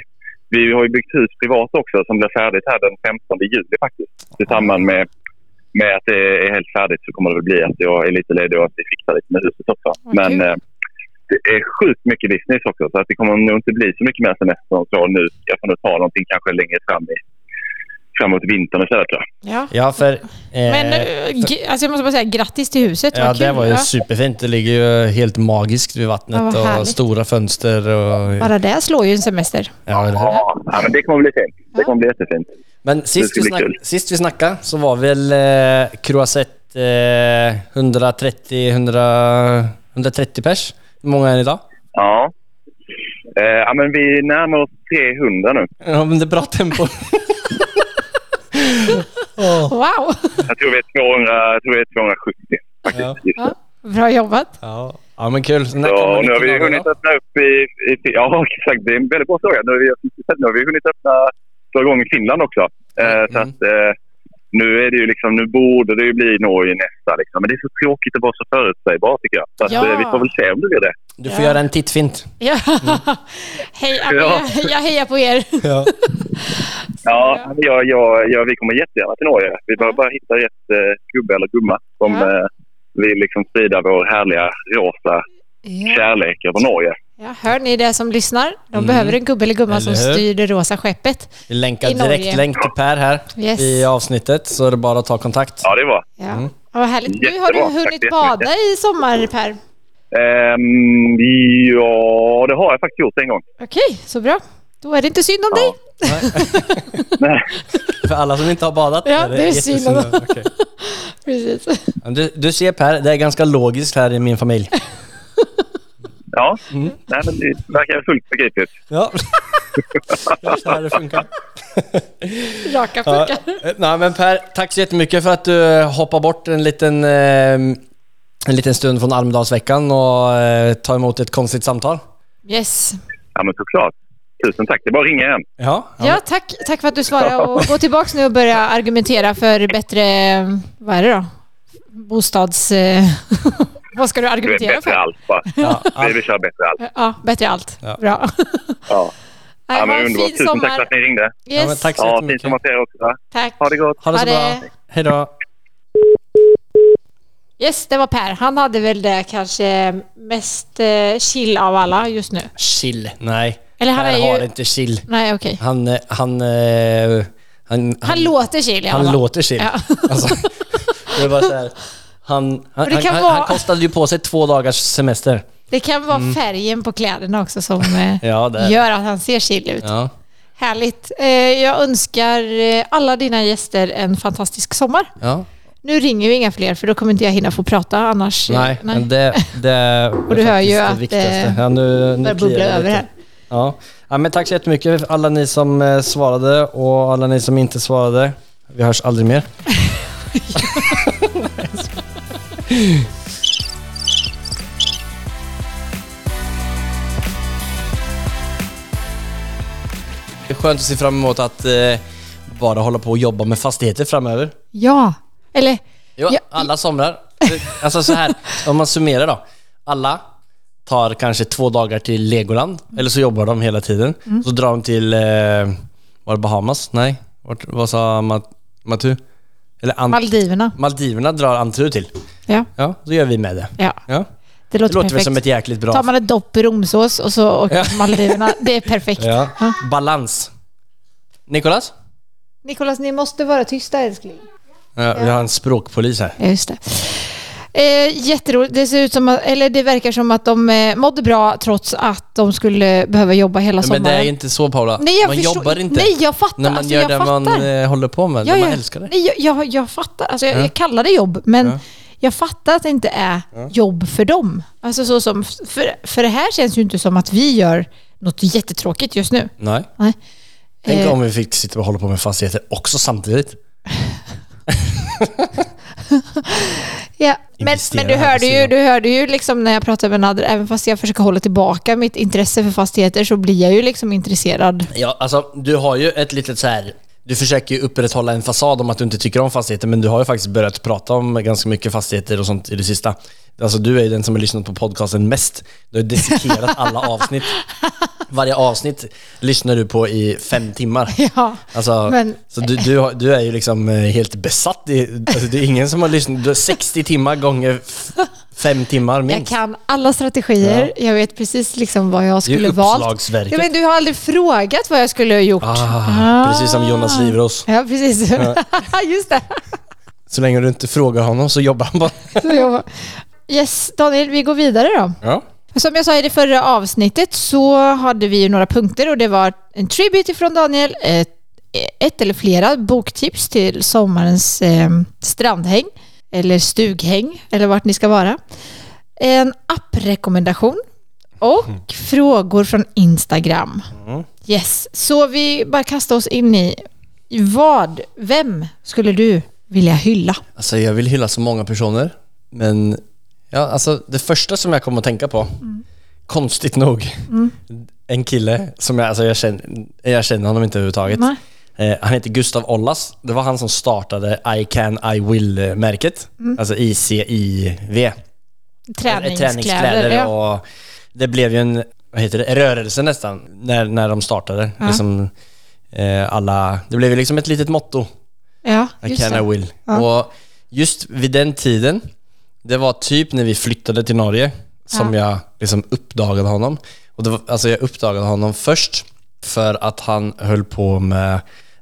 Speaker 5: vi har ju byggt hus privat också som blir färdigt här den 15 juli faktiskt. Tillsammans med, med att det är helt färdigt så kommer det väl bli att jag är lite ledig och att vi fixar lite med huset också.
Speaker 1: Vad
Speaker 5: Men
Speaker 1: kul.
Speaker 5: eh, det är sjukt mycket business också så att det kommer nog inte bli så mycket mer semester än så nu. Jag får nog ta någonting kanske längre fram i, framåt vintern istället tror jag.
Speaker 1: ja.
Speaker 2: Ja, för... eh,
Speaker 1: Men eh, g- alltså jag måste bara säga grattis till huset.
Speaker 2: Ja,
Speaker 1: Vad kul.
Speaker 2: det var ju
Speaker 1: Ja.
Speaker 2: superfint. Det ligger ju helt magiskt vid
Speaker 1: Ja,
Speaker 2: vattnet
Speaker 1: vad
Speaker 2: och
Speaker 1: härligt.
Speaker 2: stora fönster och...
Speaker 1: Bara det slår ju en semester.
Speaker 2: Ja, eller hur?
Speaker 5: Ja, ja, men det kommer bli fint. Det kommer bli jättefint.
Speaker 2: Men sist
Speaker 5: ska
Speaker 2: vi,
Speaker 5: bli
Speaker 2: snack,
Speaker 5: kul.
Speaker 2: sist vi snackade så var väl eh, Croisset eh, 130, 100, 130 pers. Hur många är ni idag?
Speaker 5: Ja. Eh, ja, men vi närmar oss 300 nu.
Speaker 2: Ja, men det är bra tempo.
Speaker 1: Wow!
Speaker 5: Jag tror vi är 200, jag tror vi är 270 faktiskt.
Speaker 2: Ja.
Speaker 5: just nu.
Speaker 1: Ja, bra jobbat.
Speaker 2: ja. ja, men kul. När kommer
Speaker 5: Ja, och nu har vi
Speaker 2: nyckeln
Speaker 5: hunnit
Speaker 2: då?
Speaker 5: öppna upp i, i... Ja, exakt. Det är en väldigt bra fråga. Nu har vi, nu har vi hunnit öppna dra igång i Finland också. Eh, så
Speaker 2: Mm.
Speaker 5: att, eh, nu, är det ju liksom, nu borde det ju bli Norge nästa. Liksom. Men det är så tråkigt att vara så förutsägbar, tycker jag. Så att,
Speaker 1: Ja.
Speaker 5: eh, vi får väl se om det blir det.
Speaker 2: Du får göra en tittfint.
Speaker 1: Ja. Hej, ja. men
Speaker 5: Mm. Ja.
Speaker 1: Jag, jag hejar på er.
Speaker 2: Ja.
Speaker 5: Ja, men jag, jag, jag, vi kommer jättegärna till Norge. Vi behöver bara hitta rätt eh, gubbe eller gumma som
Speaker 1: Ja.
Speaker 5: eh, vill liksom sprida vår härliga rosa
Speaker 1: Ja.
Speaker 5: kärlek över Norge.
Speaker 1: Ja, hör ni det som lyssnar? De
Speaker 5: Mm.
Speaker 1: behöver en gubbe eller gumma
Speaker 2: Eller
Speaker 1: som
Speaker 2: hur?
Speaker 1: styr det rosa skeppet.
Speaker 2: Vi länkar
Speaker 1: I Norge.
Speaker 2: direktlänk till Per här
Speaker 1: Yes.
Speaker 2: i avsnittet, så är det bara att ta kontakt.
Speaker 5: Ja, det är bra.
Speaker 1: Ja. Ja, Vad härligt. Nu har du
Speaker 5: Mm. Jättebra, tack så
Speaker 1: hunnit
Speaker 5: jättemycket.
Speaker 1: bada i sommar, Per.
Speaker 5: Ehm, ja, det har jag faktiskt gjort en gång.
Speaker 1: Okej, så bra. Då är det inte synd om
Speaker 5: Ja.
Speaker 1: dig.
Speaker 5: Nej.
Speaker 2: För alla som inte har badat.
Speaker 1: Ja, det är synd.
Speaker 2: jättesynd. Okej.
Speaker 1: Precis.
Speaker 2: Du, du ser Per, det är ganska logiskt här i min familj.
Speaker 5: Ja, Nej, men det verkar fullt begripligt.
Speaker 2: Ja. Det är så här det funkar.
Speaker 1: Raka
Speaker 2: Ja.
Speaker 1: puckar.
Speaker 2: Eh, Nej, men per, tack så jättemycket för att du eh, hoppar bort en liten, eh, en liten stund från Almedalsveckan och eh, tar emot ett konstigt samtal.
Speaker 1: Yes.
Speaker 5: Ja, men såklart. Tusen tack. Det är bara att ringa igen.
Speaker 2: Ja,
Speaker 1: Ja, tack, tack för att du svarade och gå tillbaka nu och börja argumentera för bättre, vad är det då? Bostads... eh, vad ska du
Speaker 5: Du är
Speaker 1: argumentera
Speaker 5: bättre
Speaker 1: för?
Speaker 5: allt bara.
Speaker 2: Ja,
Speaker 5: Vi vill köra bättre allt.
Speaker 1: Ja, bättre allt.
Speaker 2: Ja.
Speaker 1: Bra.
Speaker 5: Ja.
Speaker 1: Nej,
Speaker 5: Ja,
Speaker 1: ha
Speaker 5: men
Speaker 1: en
Speaker 5: underbart.
Speaker 1: fin
Speaker 5: Tusen tack för
Speaker 1: sommar.
Speaker 5: att ni ringde.
Speaker 1: Yes.
Speaker 2: Ja, men tack så
Speaker 5: Ja, fin
Speaker 2: jättemycket.
Speaker 5: sommar till er också. va?
Speaker 1: tack.
Speaker 5: Ha det gott.
Speaker 2: Ha det så
Speaker 1: Ha det.
Speaker 2: bra. Hej då.
Speaker 1: Yes, det var Per. Han hade väl det kanske mest eh, chill av alla just nu.
Speaker 2: Chill. Nej,
Speaker 1: Eller han
Speaker 2: Per
Speaker 1: är ju-
Speaker 2: har inte chill.
Speaker 1: Nej, okej.
Speaker 2: Han, eh, han, eh, han,
Speaker 1: Han, låter chill i alla
Speaker 2: han
Speaker 1: fall.
Speaker 2: låter chill.
Speaker 1: Ja.
Speaker 2: Alltså, det är bara så här. Han, han,
Speaker 1: det
Speaker 2: han,
Speaker 1: kan
Speaker 2: han,
Speaker 1: vara-
Speaker 2: han kostade ju på sig två dagars semester.
Speaker 1: Det kan vara färgen på kläderna också som eh,
Speaker 2: Mm. Ja, det är det.
Speaker 1: gör att han ser chill ut.
Speaker 2: Ja.
Speaker 1: Härligt. Eh, jag önskar eh, alla dina gäster en fantastisk sommar.
Speaker 2: Ja.
Speaker 1: Nu ringer ju inga fler för då kommer inte jag hinna få prata annars. eh,
Speaker 2: Nej, men det, det är
Speaker 1: Och du hör
Speaker 2: faktiskt
Speaker 1: ju
Speaker 2: det
Speaker 1: att, eh,
Speaker 2: viktigaste. Ja, nu, nu
Speaker 1: börjar
Speaker 2: kliar
Speaker 1: bubbla
Speaker 2: det
Speaker 1: över
Speaker 2: lite.
Speaker 1: här.
Speaker 2: Ja. ja, men tack så jättemycket alla ni som eh, svarade och alla ni som inte svarade. Vi hörs aldrig mer. Det är skönt att se fram emot att eh, bara hålla på och jobba med fastigheter framöver.
Speaker 1: Ja, eller
Speaker 2: Jo,
Speaker 1: Ja.
Speaker 2: alla somrar. Alltså så här, om man summerar då. Alla tar kanske två dagar till Legoland, eller så jobbar de hela tiden.
Speaker 1: Mm.
Speaker 2: Så drar de till, eh, var det Bahamas? Nej, Vart, vad sa Mat- Matu? Eller Ant-
Speaker 1: Maldiverna.
Speaker 2: Maldiverna drar Antru till.
Speaker 1: Ja,
Speaker 2: Ja, då gör vi med det.
Speaker 1: ja.
Speaker 2: Ja.
Speaker 1: det
Speaker 2: Det
Speaker 1: låter,
Speaker 2: låter väl
Speaker 1: perfekt.
Speaker 2: som ett jäkligt bra...
Speaker 1: Tar man ett dopp i romsås och så åker
Speaker 2: Ja.
Speaker 1: till Maldiverna. Det är perfekt.
Speaker 2: ja. Balans. Nikolas?
Speaker 1: Nikolas, ni måste vara tysta älskling.
Speaker 2: Ja, vi har en språkpolis här.
Speaker 1: Ja, just det. Eh, jätteroligt. Det, ser ut som att, eller det verkar som att de eh, mådde bra trots att de skulle behöva jobba hela sommaren.
Speaker 2: Men det är ju inte så Paula.
Speaker 1: Nej, jag
Speaker 2: man
Speaker 1: förstår-
Speaker 2: jobbar inte.
Speaker 1: Nej, jag fattar.
Speaker 2: När man
Speaker 1: Alltså,
Speaker 2: gör
Speaker 1: jag
Speaker 2: det man
Speaker 1: fattar.
Speaker 2: eh, håller på med,
Speaker 1: Ja,
Speaker 2: det man
Speaker 1: ja.
Speaker 2: älskar det.
Speaker 1: Nej, jag, jag, jag fattar. Alltså, jag, jag kallar det jobb, men jag fattar att det inte är jobb för dem. Alltså, så som, för, för det här känns ju inte som att vi gör något jättetråkigt just nu.
Speaker 2: Nej.
Speaker 1: Nej.
Speaker 2: Tänk
Speaker 1: Eh.
Speaker 2: om vi fick sitta och hålla på med fastigheter också samtidigt.
Speaker 1: Ja. Men,
Speaker 2: Investera
Speaker 1: men du,
Speaker 2: här på
Speaker 1: hörde ju,
Speaker 2: sidan.
Speaker 1: du hörde ju liksom när jag pratade med Nader, även fast jag försöker hålla tillbaka mitt intresse för fastigheter så blir jag ju liksom intresserad.
Speaker 2: Ja, alltså du har ju ett litet så här... Du försöker ju upprätthålla en fasad om att du inte tycker om fastigheter, men du har ju faktiskt börjat prata om ganska mycket fastigheter och sånt i det sista. Alltså du är ju den som har lyssnat på podcasten mest. Du har dissekerat alla avsnitt. Varje avsnitt lyssnar du på i fem timmar.
Speaker 1: Ja,
Speaker 2: Alltså,
Speaker 1: men-
Speaker 2: Så du, du, har, du är ju liksom eh, helt besatt. I, alltså, det är ingen som har lyssnat. Du har 60 timmar gånger f- fem timmar minst.
Speaker 1: Jag kan alla strategier. Jag vet precis liksom vad jag
Speaker 2: Det är ju
Speaker 1: skulle valt.
Speaker 2: uppslagsverket.
Speaker 1: Ja, men du har aldrig frågat vad jag skulle ha gjort.
Speaker 2: Ah, precis som Jonas Livros.
Speaker 1: Ja, precis. Just det.
Speaker 2: Så länge du inte frågar honom så jobbar han bara.
Speaker 1: Så jag- Yes, Daniel, vi går vidare då.
Speaker 2: Ja.
Speaker 1: Som jag sa i det förra avsnittet så hade vi ju några punkter och det var en tribute från Daniel, ett, ett eller flera boktips till sommarens eh, strandhäng eller stughäng eller vart ni ska vara. En apprekommendation och frågor från Instagram. Yes, så vi bara kastar oss in i vad, vem skulle du vilja hylla?
Speaker 2: Alltså jag vill hylla så många personer, men ja, alltså, det första som jag kom att tänka på, konstigt nog, en kille som jag, alltså, jag, känner, jag känner honom inte överhuvudtaget.
Speaker 1: Nej.
Speaker 2: Eh, han heter Gustav Ollas. Det var han som startade I can, I will-märket. Alltså ICIV.
Speaker 1: Träningskläder.
Speaker 2: träningskläder
Speaker 1: ja.
Speaker 2: och det blev ju en vad heter det, rörelse nästan när, när de startade. Liksom, eh, alla, det blev ju liksom ett litet motto,
Speaker 1: Ja,
Speaker 2: I
Speaker 1: just
Speaker 2: can
Speaker 1: det.
Speaker 2: I will. Och just vid den tiden, det var typ när vi flyttade till Norge som jag liksom uppdagade honom. Och Och det var, alltså jag uppdagade honom först för att han höll på med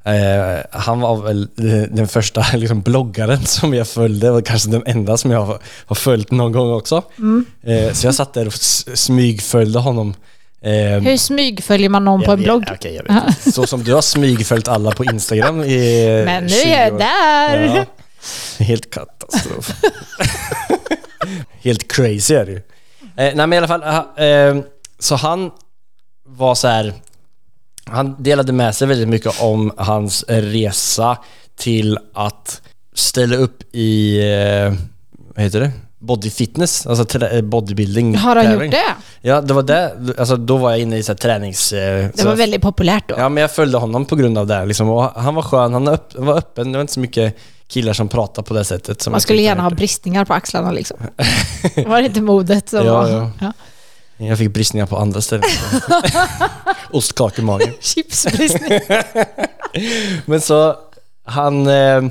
Speaker 2: eh, han var väl eh, den första liksom, bloggaren som jag följde och kanske den enda som jag har- har följt någon gång också.
Speaker 1: Mm.
Speaker 2: Eh, så jag satt där och s- smygföljde honom. Eh,
Speaker 1: Hur smygföljer man någon på
Speaker 2: jag
Speaker 1: en
Speaker 2: vet-
Speaker 1: blogg?
Speaker 2: okej, jag vet inte. Så som du har smygföljt alla på Instagram i
Speaker 1: Men nu
Speaker 2: 20
Speaker 1: är jag
Speaker 2: år.
Speaker 1: där!
Speaker 2: Ja. Helt katastrof. Helt crazy är det ju. Eh, nej men i alla fall, aha, eh, så han var så här. Han delade med sig väldigt mycket om hans resa till att ställa upp i, eh, vad heter det? Body fitness, alltså trä- eh, bodybuilding.
Speaker 1: Har han gjort
Speaker 2: tävling.
Speaker 1: det?
Speaker 2: Ja, det var det. Alltså, då var jag inne i så här tränings... eh,
Speaker 1: Det
Speaker 2: så-
Speaker 1: var väldigt populärt då.
Speaker 2: Ja, men jag följde honom på grund av det. här, Liksom. Och han var skön, han öpp- var öppen. Det var inte så mycket killar som pratade på det sättet. Som
Speaker 1: Man
Speaker 2: jag
Speaker 1: skulle
Speaker 2: tyckte
Speaker 1: gärna ha
Speaker 2: han gjorde.
Speaker 1: bristningar på axlarna liksom. Var det inte modet som
Speaker 2: Ja,
Speaker 1: var...
Speaker 2: ja. Jag fick bristningar på andra ställen. Ostkaka i magen.
Speaker 1: Chipsbristning.
Speaker 2: Men så, han... Eh,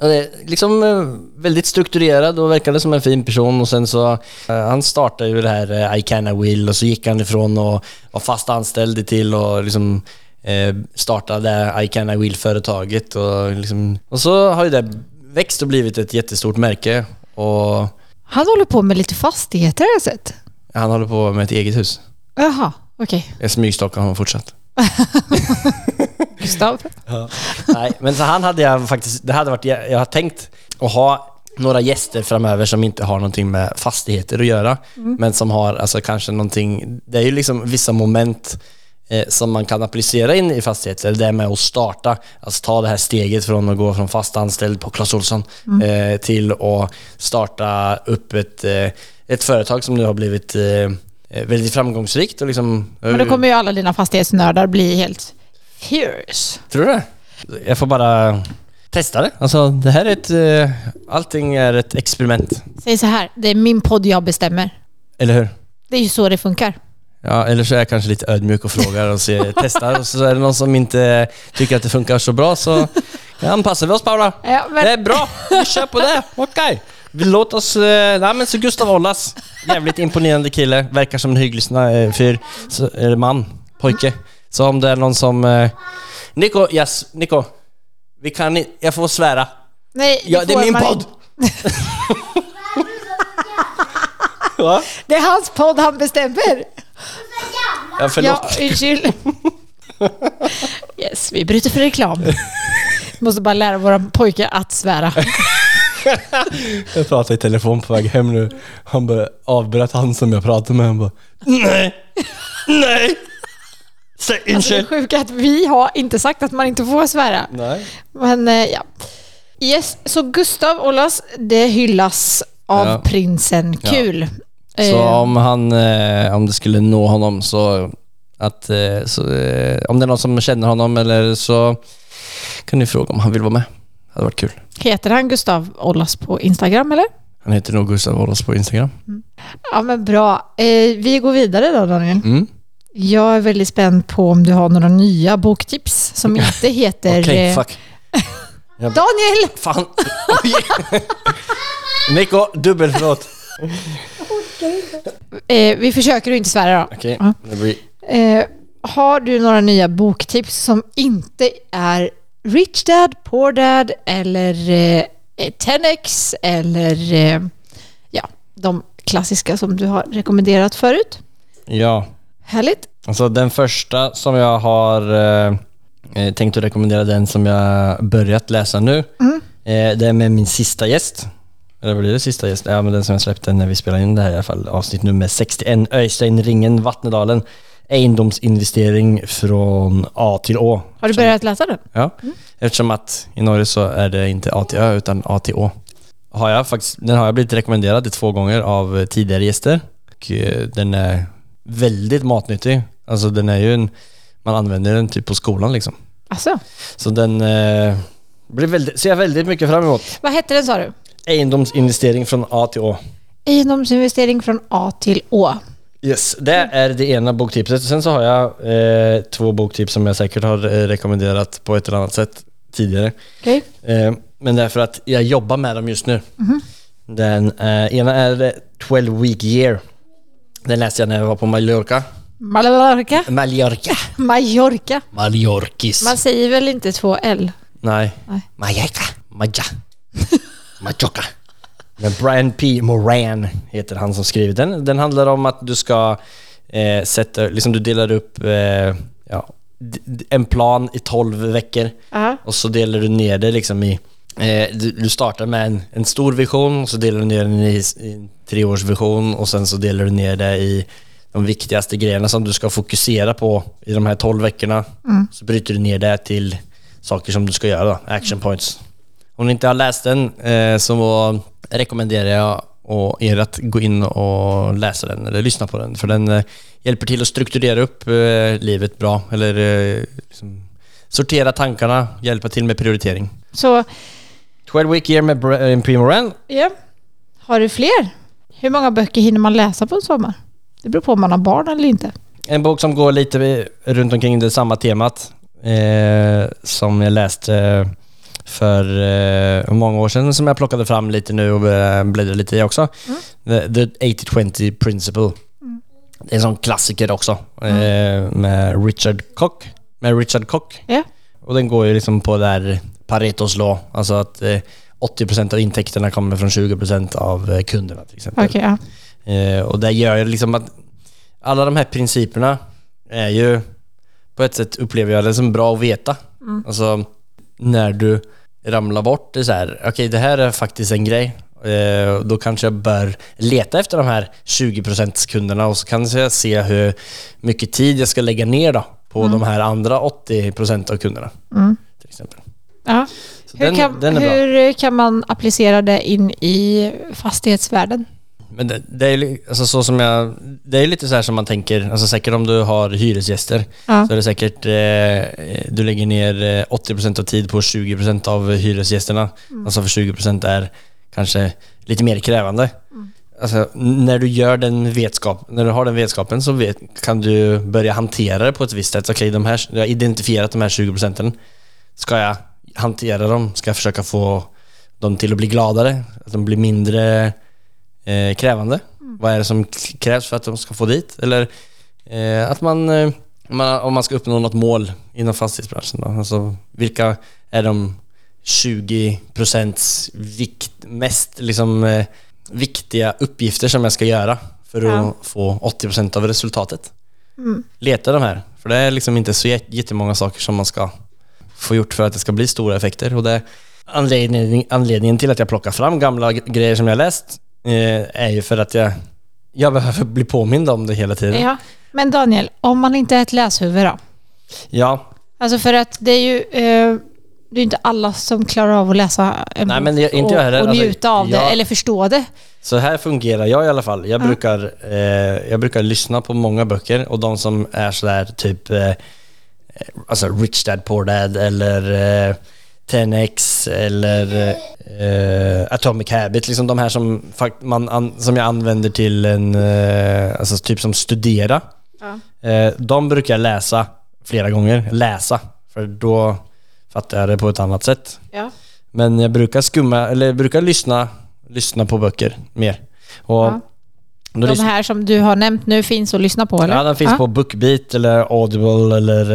Speaker 2: han är liksom eh, väldigt strukturerad och verkade som en fin person och sen så eh, han startade ju det här eh, I can I will och så gick han ifrån och var fast anställd till och liksom eh, startade I can I will-företaget och liksom, och så har ju det växt och blivit ett jättestort märke och
Speaker 1: Han håller på med lite fastigheter har jag sett.
Speaker 2: han håller på med ett eget hus.
Speaker 1: Jaha, okej.
Speaker 2: Jag smygstalkar honom fortsatt.
Speaker 1: Gustav.
Speaker 2: Nej, men så han hade jag faktiskt, det hade varit, jag jag har tänkt att ha några gäster framöver som inte har någonting med fastigheter att göra,
Speaker 1: Mm.
Speaker 2: men som har alltså kanske någonting, det är ju liksom vissa moment eh, som man kan applicera in i fastigheter, det är med att starta, alltså ta det här steget från att gå från fast anställd på Clas Ohlson
Speaker 1: Mm.
Speaker 2: eh, till att starta upp ett, eh, ett företag som nu har blivit eh, eh, väldigt framgångsrikt och liksom...
Speaker 1: Men då kommer ju alla dina fastighetsnördar bli helt fierce.
Speaker 2: Tror du det? Jag får bara testa det. Alltså, det här är ett... eh, Allting är ett experiment.
Speaker 1: Säg så här, det är min podd jag bestämmer.
Speaker 2: Eller hur?
Speaker 1: Det är ju så det funkar.
Speaker 2: Ja, eller så är jag kanske lite ödmjuk och frågar och ser, testar. Och så är det någon som inte tycker att det funkar så bra så anpassar vi oss Paula.
Speaker 1: Ja, men-
Speaker 2: Det är bra, vi kör på det. Okej. Vi Låt oss... eh, Nej men så Gustav Ollas, jävligt imponerande kille. Verkar som en hygglig sna- eh, fyr. Så- Eller man, pojke. Så om det är någon som... eh, Nico, yes, Nico. Vi kan i- Jag får svära.
Speaker 1: Nej,
Speaker 2: Ja, det
Speaker 1: får
Speaker 2: är min
Speaker 1: man
Speaker 2: podd!
Speaker 1: inte. Det är hans podd han bestämmer.
Speaker 2: Ja,
Speaker 1: Ja,
Speaker 2: förlåt.
Speaker 1: ursäkta. Yes, vi bryter för reklam. Måste bara lära våra pojkar att svära.
Speaker 2: Jag pratade i telefon på väg hem nu. Han bara avbröt han som jag pratade med. Han bara, nej, nej, säg
Speaker 1: Alltså, det är
Speaker 2: inte.
Speaker 1: sjukt att vi har inte sagt att man inte får svära.
Speaker 2: Nej.
Speaker 1: Men eh, ja. Yes, så Gustav Ollas, det hyllas av
Speaker 2: Ja.
Speaker 1: prinsen. Kul.
Speaker 2: Så
Speaker 1: Eh,
Speaker 2: om han, eh, om det skulle nå honom så, att, eh, så eh, om det är någon som känner honom eller så kan ni fråga om han vill vara med. Det hade varit kul.
Speaker 1: Heter han Gustav Ollas på Instagram eller?
Speaker 2: Han heter nog Gustav Ollas på Instagram.
Speaker 1: Ja men bra. Eh, vi går vidare då Daniel.
Speaker 2: Mm.
Speaker 1: Jag är väldigt spänd på om du har några nya boktips som inte heter...
Speaker 2: Okej,
Speaker 1: eh,
Speaker 2: fuck.
Speaker 1: Daniel!
Speaker 2: Fan. Oj. Nico, dubbel förlåt.
Speaker 1: Eh, vi försöker att inte svära då.
Speaker 2: Okej,
Speaker 1: Ja.
Speaker 2: det blir
Speaker 1: Eh, har du några nya boktips som inte är Rich Dad, Poor Dad eller eh, 10X eller eh, ja, de klassiska som du har rekommenderat förut?
Speaker 2: Ja.
Speaker 1: Härligt.
Speaker 2: Alltså den första som jag har eh, eh, tänkt att rekommendera den som jag börjat läsa nu. Eh, det är med min sista gäst. Eller blir det sista gäst? Ja, men den som jag släppte när vi spelade in det här i alla fall. Avsnitt nummer 61, Öjstein Ringen, Vattnedalen. Egendomsinvestering från A till Å.
Speaker 1: Har du börjat läsa den?
Speaker 2: Ja, eftersom att i Norge så är det inte A till Ö utan A till Å. Har jag faktiskt, den har jag blivit rekommenderad till två gånger av eh, tidigare gäster. Och eh, den är väldigt matnyttig. Alltså den är ju en, man använder den typ på skolan liksom.
Speaker 1: Alltså,
Speaker 2: Så den eh, blir väldigt, ser jag väldigt mycket fram emot.
Speaker 1: vad hette den sa du?
Speaker 2: Egendomsinvestering från A till Å.
Speaker 1: Egendomsinvestering från A till Å.
Speaker 2: Yes, det är det ena boktipset. Sen så har jag eh, två boktips som jag säkert har eh, rekommenderat på ett eller annat sätt tidigare.
Speaker 1: Okej.
Speaker 2: Eh, men därför att jag jobbar med dem just nu.
Speaker 1: Mhm.
Speaker 2: Den eh, ena är eh, 12 Week Year. Den läste jag när jag var på Mallorca.
Speaker 1: Mallorca.
Speaker 2: Mallorca.
Speaker 1: Mallorca.
Speaker 2: Mallorquis.
Speaker 1: Man säger väl inte två L?
Speaker 2: Nej.
Speaker 1: Nej.
Speaker 2: Mallorca. Maja. Mallorca. Men Brian P. Moran heter han som skrivit den. Den handlar om att du ska eh, sätta, liksom du delar upp eh, ja, d- d- en plan i 12 veckor.
Speaker 1: Ja.
Speaker 2: Och så delar du ner det liksom i... Eh, du, du startar med en, en stor vision, och så delar du ner den i, s- i en treårsvision och sen så delar du ner det i de viktigaste grejerna som du ska fokusera på i de här 12 veckorna. Så bryter du ner det till saker som du ska göra, då, action points. Om ni inte har läst den eh, så rekommenderar jag och er att gå in och läsa den eller lyssna på den. För den eh, hjälper till att strukturera upp eh, livet bra. Eller eh, liksom, sortera tankarna, hjälpa till med prioritering.
Speaker 1: Så,
Speaker 2: 12 week year med eh, Brian P. Moran.
Speaker 1: ja. Har du fler? Hur många böcker hinner man läsa på en sommar? Det beror på om man har barn eller inte.
Speaker 2: En bok som går lite runt omkring det samma temat eh, som jag läste för eh, många år sedan som jag plockade fram lite nu och eh, bläddrade lite i också. The, the 80-20 Principle. Det är en sån klassiker också eh, med Richard Koch. Med Richard Koch.
Speaker 1: Ja.
Speaker 2: Och den går ju liksom på där Paretos law, alltså att eh, 80% av intäkterna kommer från 20% av eh, kunderna till exempel.
Speaker 1: Okej, ja.
Speaker 2: Eh, och det gör ju liksom att alla de här principerna är ju på ett sätt upplever jag det som bra att veta.
Speaker 1: Mm.
Speaker 2: Alltså när du ramlar bort, det är så här, okej det här är faktiskt en grej. Eh, då kanske jag bör leta efter de här 20% kunderna och så kan jag se hur mycket tid jag ska lägga ner då på
Speaker 1: Mm.
Speaker 2: de här andra 80% av kunderna. Till exempel.
Speaker 1: ja.
Speaker 2: Så
Speaker 1: Mm. Hur,
Speaker 2: den,
Speaker 1: kan,
Speaker 2: den är bra.
Speaker 1: hur kan man applicera det in i fastighetsvärlden?
Speaker 2: Men det, det är li- alltså så som jag, det är lite så här som man tänker, alltså säkert om du har hyresgäster
Speaker 1: Ja.
Speaker 2: så är det säkert, eh, du lägger ner eh, 80% av tid på 20% av hyresgästerna. Alltså för 20% är kanske lite mer krävande. Alltså, n- när du gör den vetskap, när du har den vetskapen så vet, kan du börja hantera det på ett visst sätt. Okej, de här, jag har identifierat de här 20 procenten. Ska jag hantera dem? Ska jag försöka få dem till att bli gladare? Att de blir mindre eh, krävande? Vad är det som k- krävs för att de ska få dit? Eller eh, att man, eh, man, om man ska uppnå något mål inom fastighetsbranschen då. Alltså, vilka är de 20 procents vikt, mest liksom, eh, viktiga uppgifter som jag ska göra för att
Speaker 1: Ja.
Speaker 2: få 80 procent av resultatet? Leta de här, för det är liksom inte så jätt- jättemånga saker som man ska få gjort för att det ska bli stora effekter. Och det, anledning, anledningen till att jag plockar fram gamla g- grejer som jag läst eh, är ju för att jag, jag behöver bli påmind om det hela tiden.
Speaker 1: Ja. Men Daniel, om man inte är ett läshuvud då?
Speaker 2: Ja.
Speaker 1: Alltså för att det är ju eh, det är inte alla som klarar av att läsa en
Speaker 2: Nej,
Speaker 1: bok
Speaker 2: men jag- inte jag
Speaker 1: och,
Speaker 2: heller.
Speaker 1: och
Speaker 2: Alltså,
Speaker 1: njuta av det
Speaker 2: jag-
Speaker 1: eller förstå det.
Speaker 2: Så här fungerar jag i alla fall. Jag, brukar, eh, jag brukar lyssna på många böcker och de som är sådär typ eh, alltså Rich Dad Poor Dad eller eh, 10X eller eh, Atomic Habit, liksom de här som, fakt- man an, som jag använder till en, eh, alltså typ som studera. Eh, de brukar jag läsa flera gånger, läsa, för då fattar jag det på ett annat sätt.
Speaker 1: Ja.
Speaker 2: Men jag brukar skumma, eller jag brukar lyssna, lyssna på böcker mer. Och
Speaker 1: Ja.
Speaker 2: då
Speaker 1: De
Speaker 2: lyssnar-
Speaker 1: här som du har nämnt nu finns att lyssna på eller?
Speaker 2: Ja, den finns på Bookbeat eller Audible eller eh,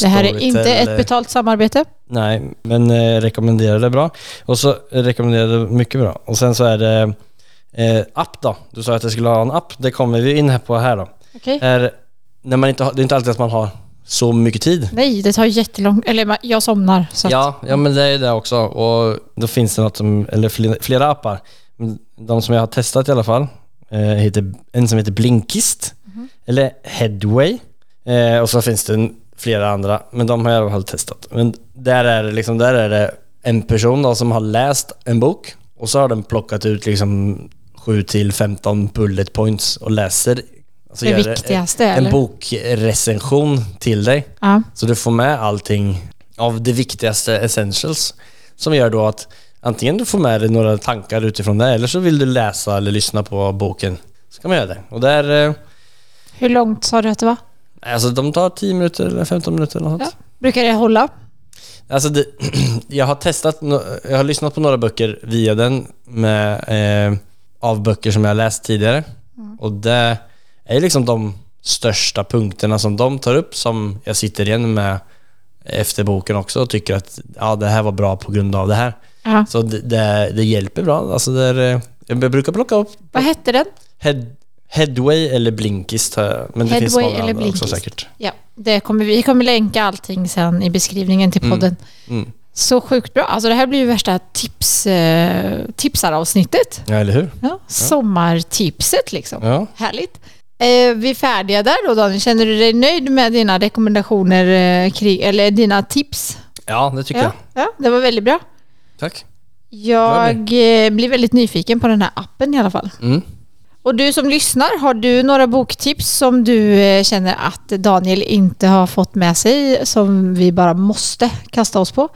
Speaker 1: Det här är
Speaker 2: Storytel
Speaker 1: inte
Speaker 2: eller-
Speaker 1: ett betalt samarbete.
Speaker 2: Nej, men eh, rekommenderar det bra. Och så rekommenderar det mycket bra. Och sen så är det eh, app då. Du sa att jag skulle ha en app. Det kommer vi in här på här då.
Speaker 1: Okej.
Speaker 2: Är, när man inte har, det är inte alltid att man har så mycket tid.
Speaker 1: Nej, det tar jättelång... Eller ma- jag somnar. Så att,
Speaker 2: Ja, ja, men det är det också. Och då finns det något som, eller flera, flera appar. De som jag har testat i alla fall. Eh, heter, en som heter Blinkist.
Speaker 1: Mhm.
Speaker 2: Eller Headway. Eh, och så finns det en, flera andra. Men de har jag i alla fall testat. Men där är det, liksom, där är det en person då, som har läst en bok. Och så har den plockat ut liksom 7 till 15 bullet points och läser. Alltså
Speaker 1: Det
Speaker 2: gör
Speaker 1: viktigaste,
Speaker 2: En,
Speaker 1: eller?
Speaker 2: en bokrecension till dig.
Speaker 1: ja.
Speaker 2: Så du får med allting av det viktigaste essentials som gör då att antingen du får med dig några tankar utifrån det eller så vill du läsa eller lyssna på boken. Så kan man göra det. Och där, eh,
Speaker 1: Hur långt sa du att det var?
Speaker 2: alltså de tar 10 minuter eller 15 minuter eller något.
Speaker 1: Ja. Brukar det hålla?
Speaker 2: Alltså det, jag har testat, no- jag har lyssnat på några böcker via den
Speaker 1: Mm.
Speaker 2: med, eh, av böcker som jag har läst tidigare. Och det är liksom de största punkterna som de tar upp som jag sitter igen med efter boken också och tycker att ja, det här var bra på grund av det här.
Speaker 1: Ja.
Speaker 2: Så det, det, det hjälper bra. Alltså det är, eh, jag brukar plocka upp
Speaker 1: Vad hette den?
Speaker 2: head, Headway eller Blinkist. har jag- Men det finns
Speaker 1: Headway
Speaker 2: många
Speaker 1: eller
Speaker 2: andra
Speaker 1: Blinkist?
Speaker 2: också säkert.
Speaker 1: Ja, det kommer, vi kommer länka allting sen i beskrivningen till podden.
Speaker 2: Mm.
Speaker 1: Så sjukt bra. Alltså det här blir ju värsta tips, eh, tipsaravsnittet.
Speaker 2: Ja, eller hur?
Speaker 1: Ja, Sommartipset liksom.
Speaker 2: Ja.
Speaker 1: Härligt. Eh, vi är färdiga där då Daniel. Känner du dig nöjd med dina rekommendationer eh, kring, eller dina tips?
Speaker 2: ja, det tycker
Speaker 1: Ja,
Speaker 2: jag.
Speaker 1: ja, det var väldigt bra.
Speaker 2: Tack.
Speaker 1: Jag eh, blir väldigt nyfiken på den här appen i alla fall.
Speaker 2: Mm.
Speaker 1: Och du som lyssnar, har du några boktips som du eh, känner att Daniel inte har fått med sig som vi bara måste kasta oss på?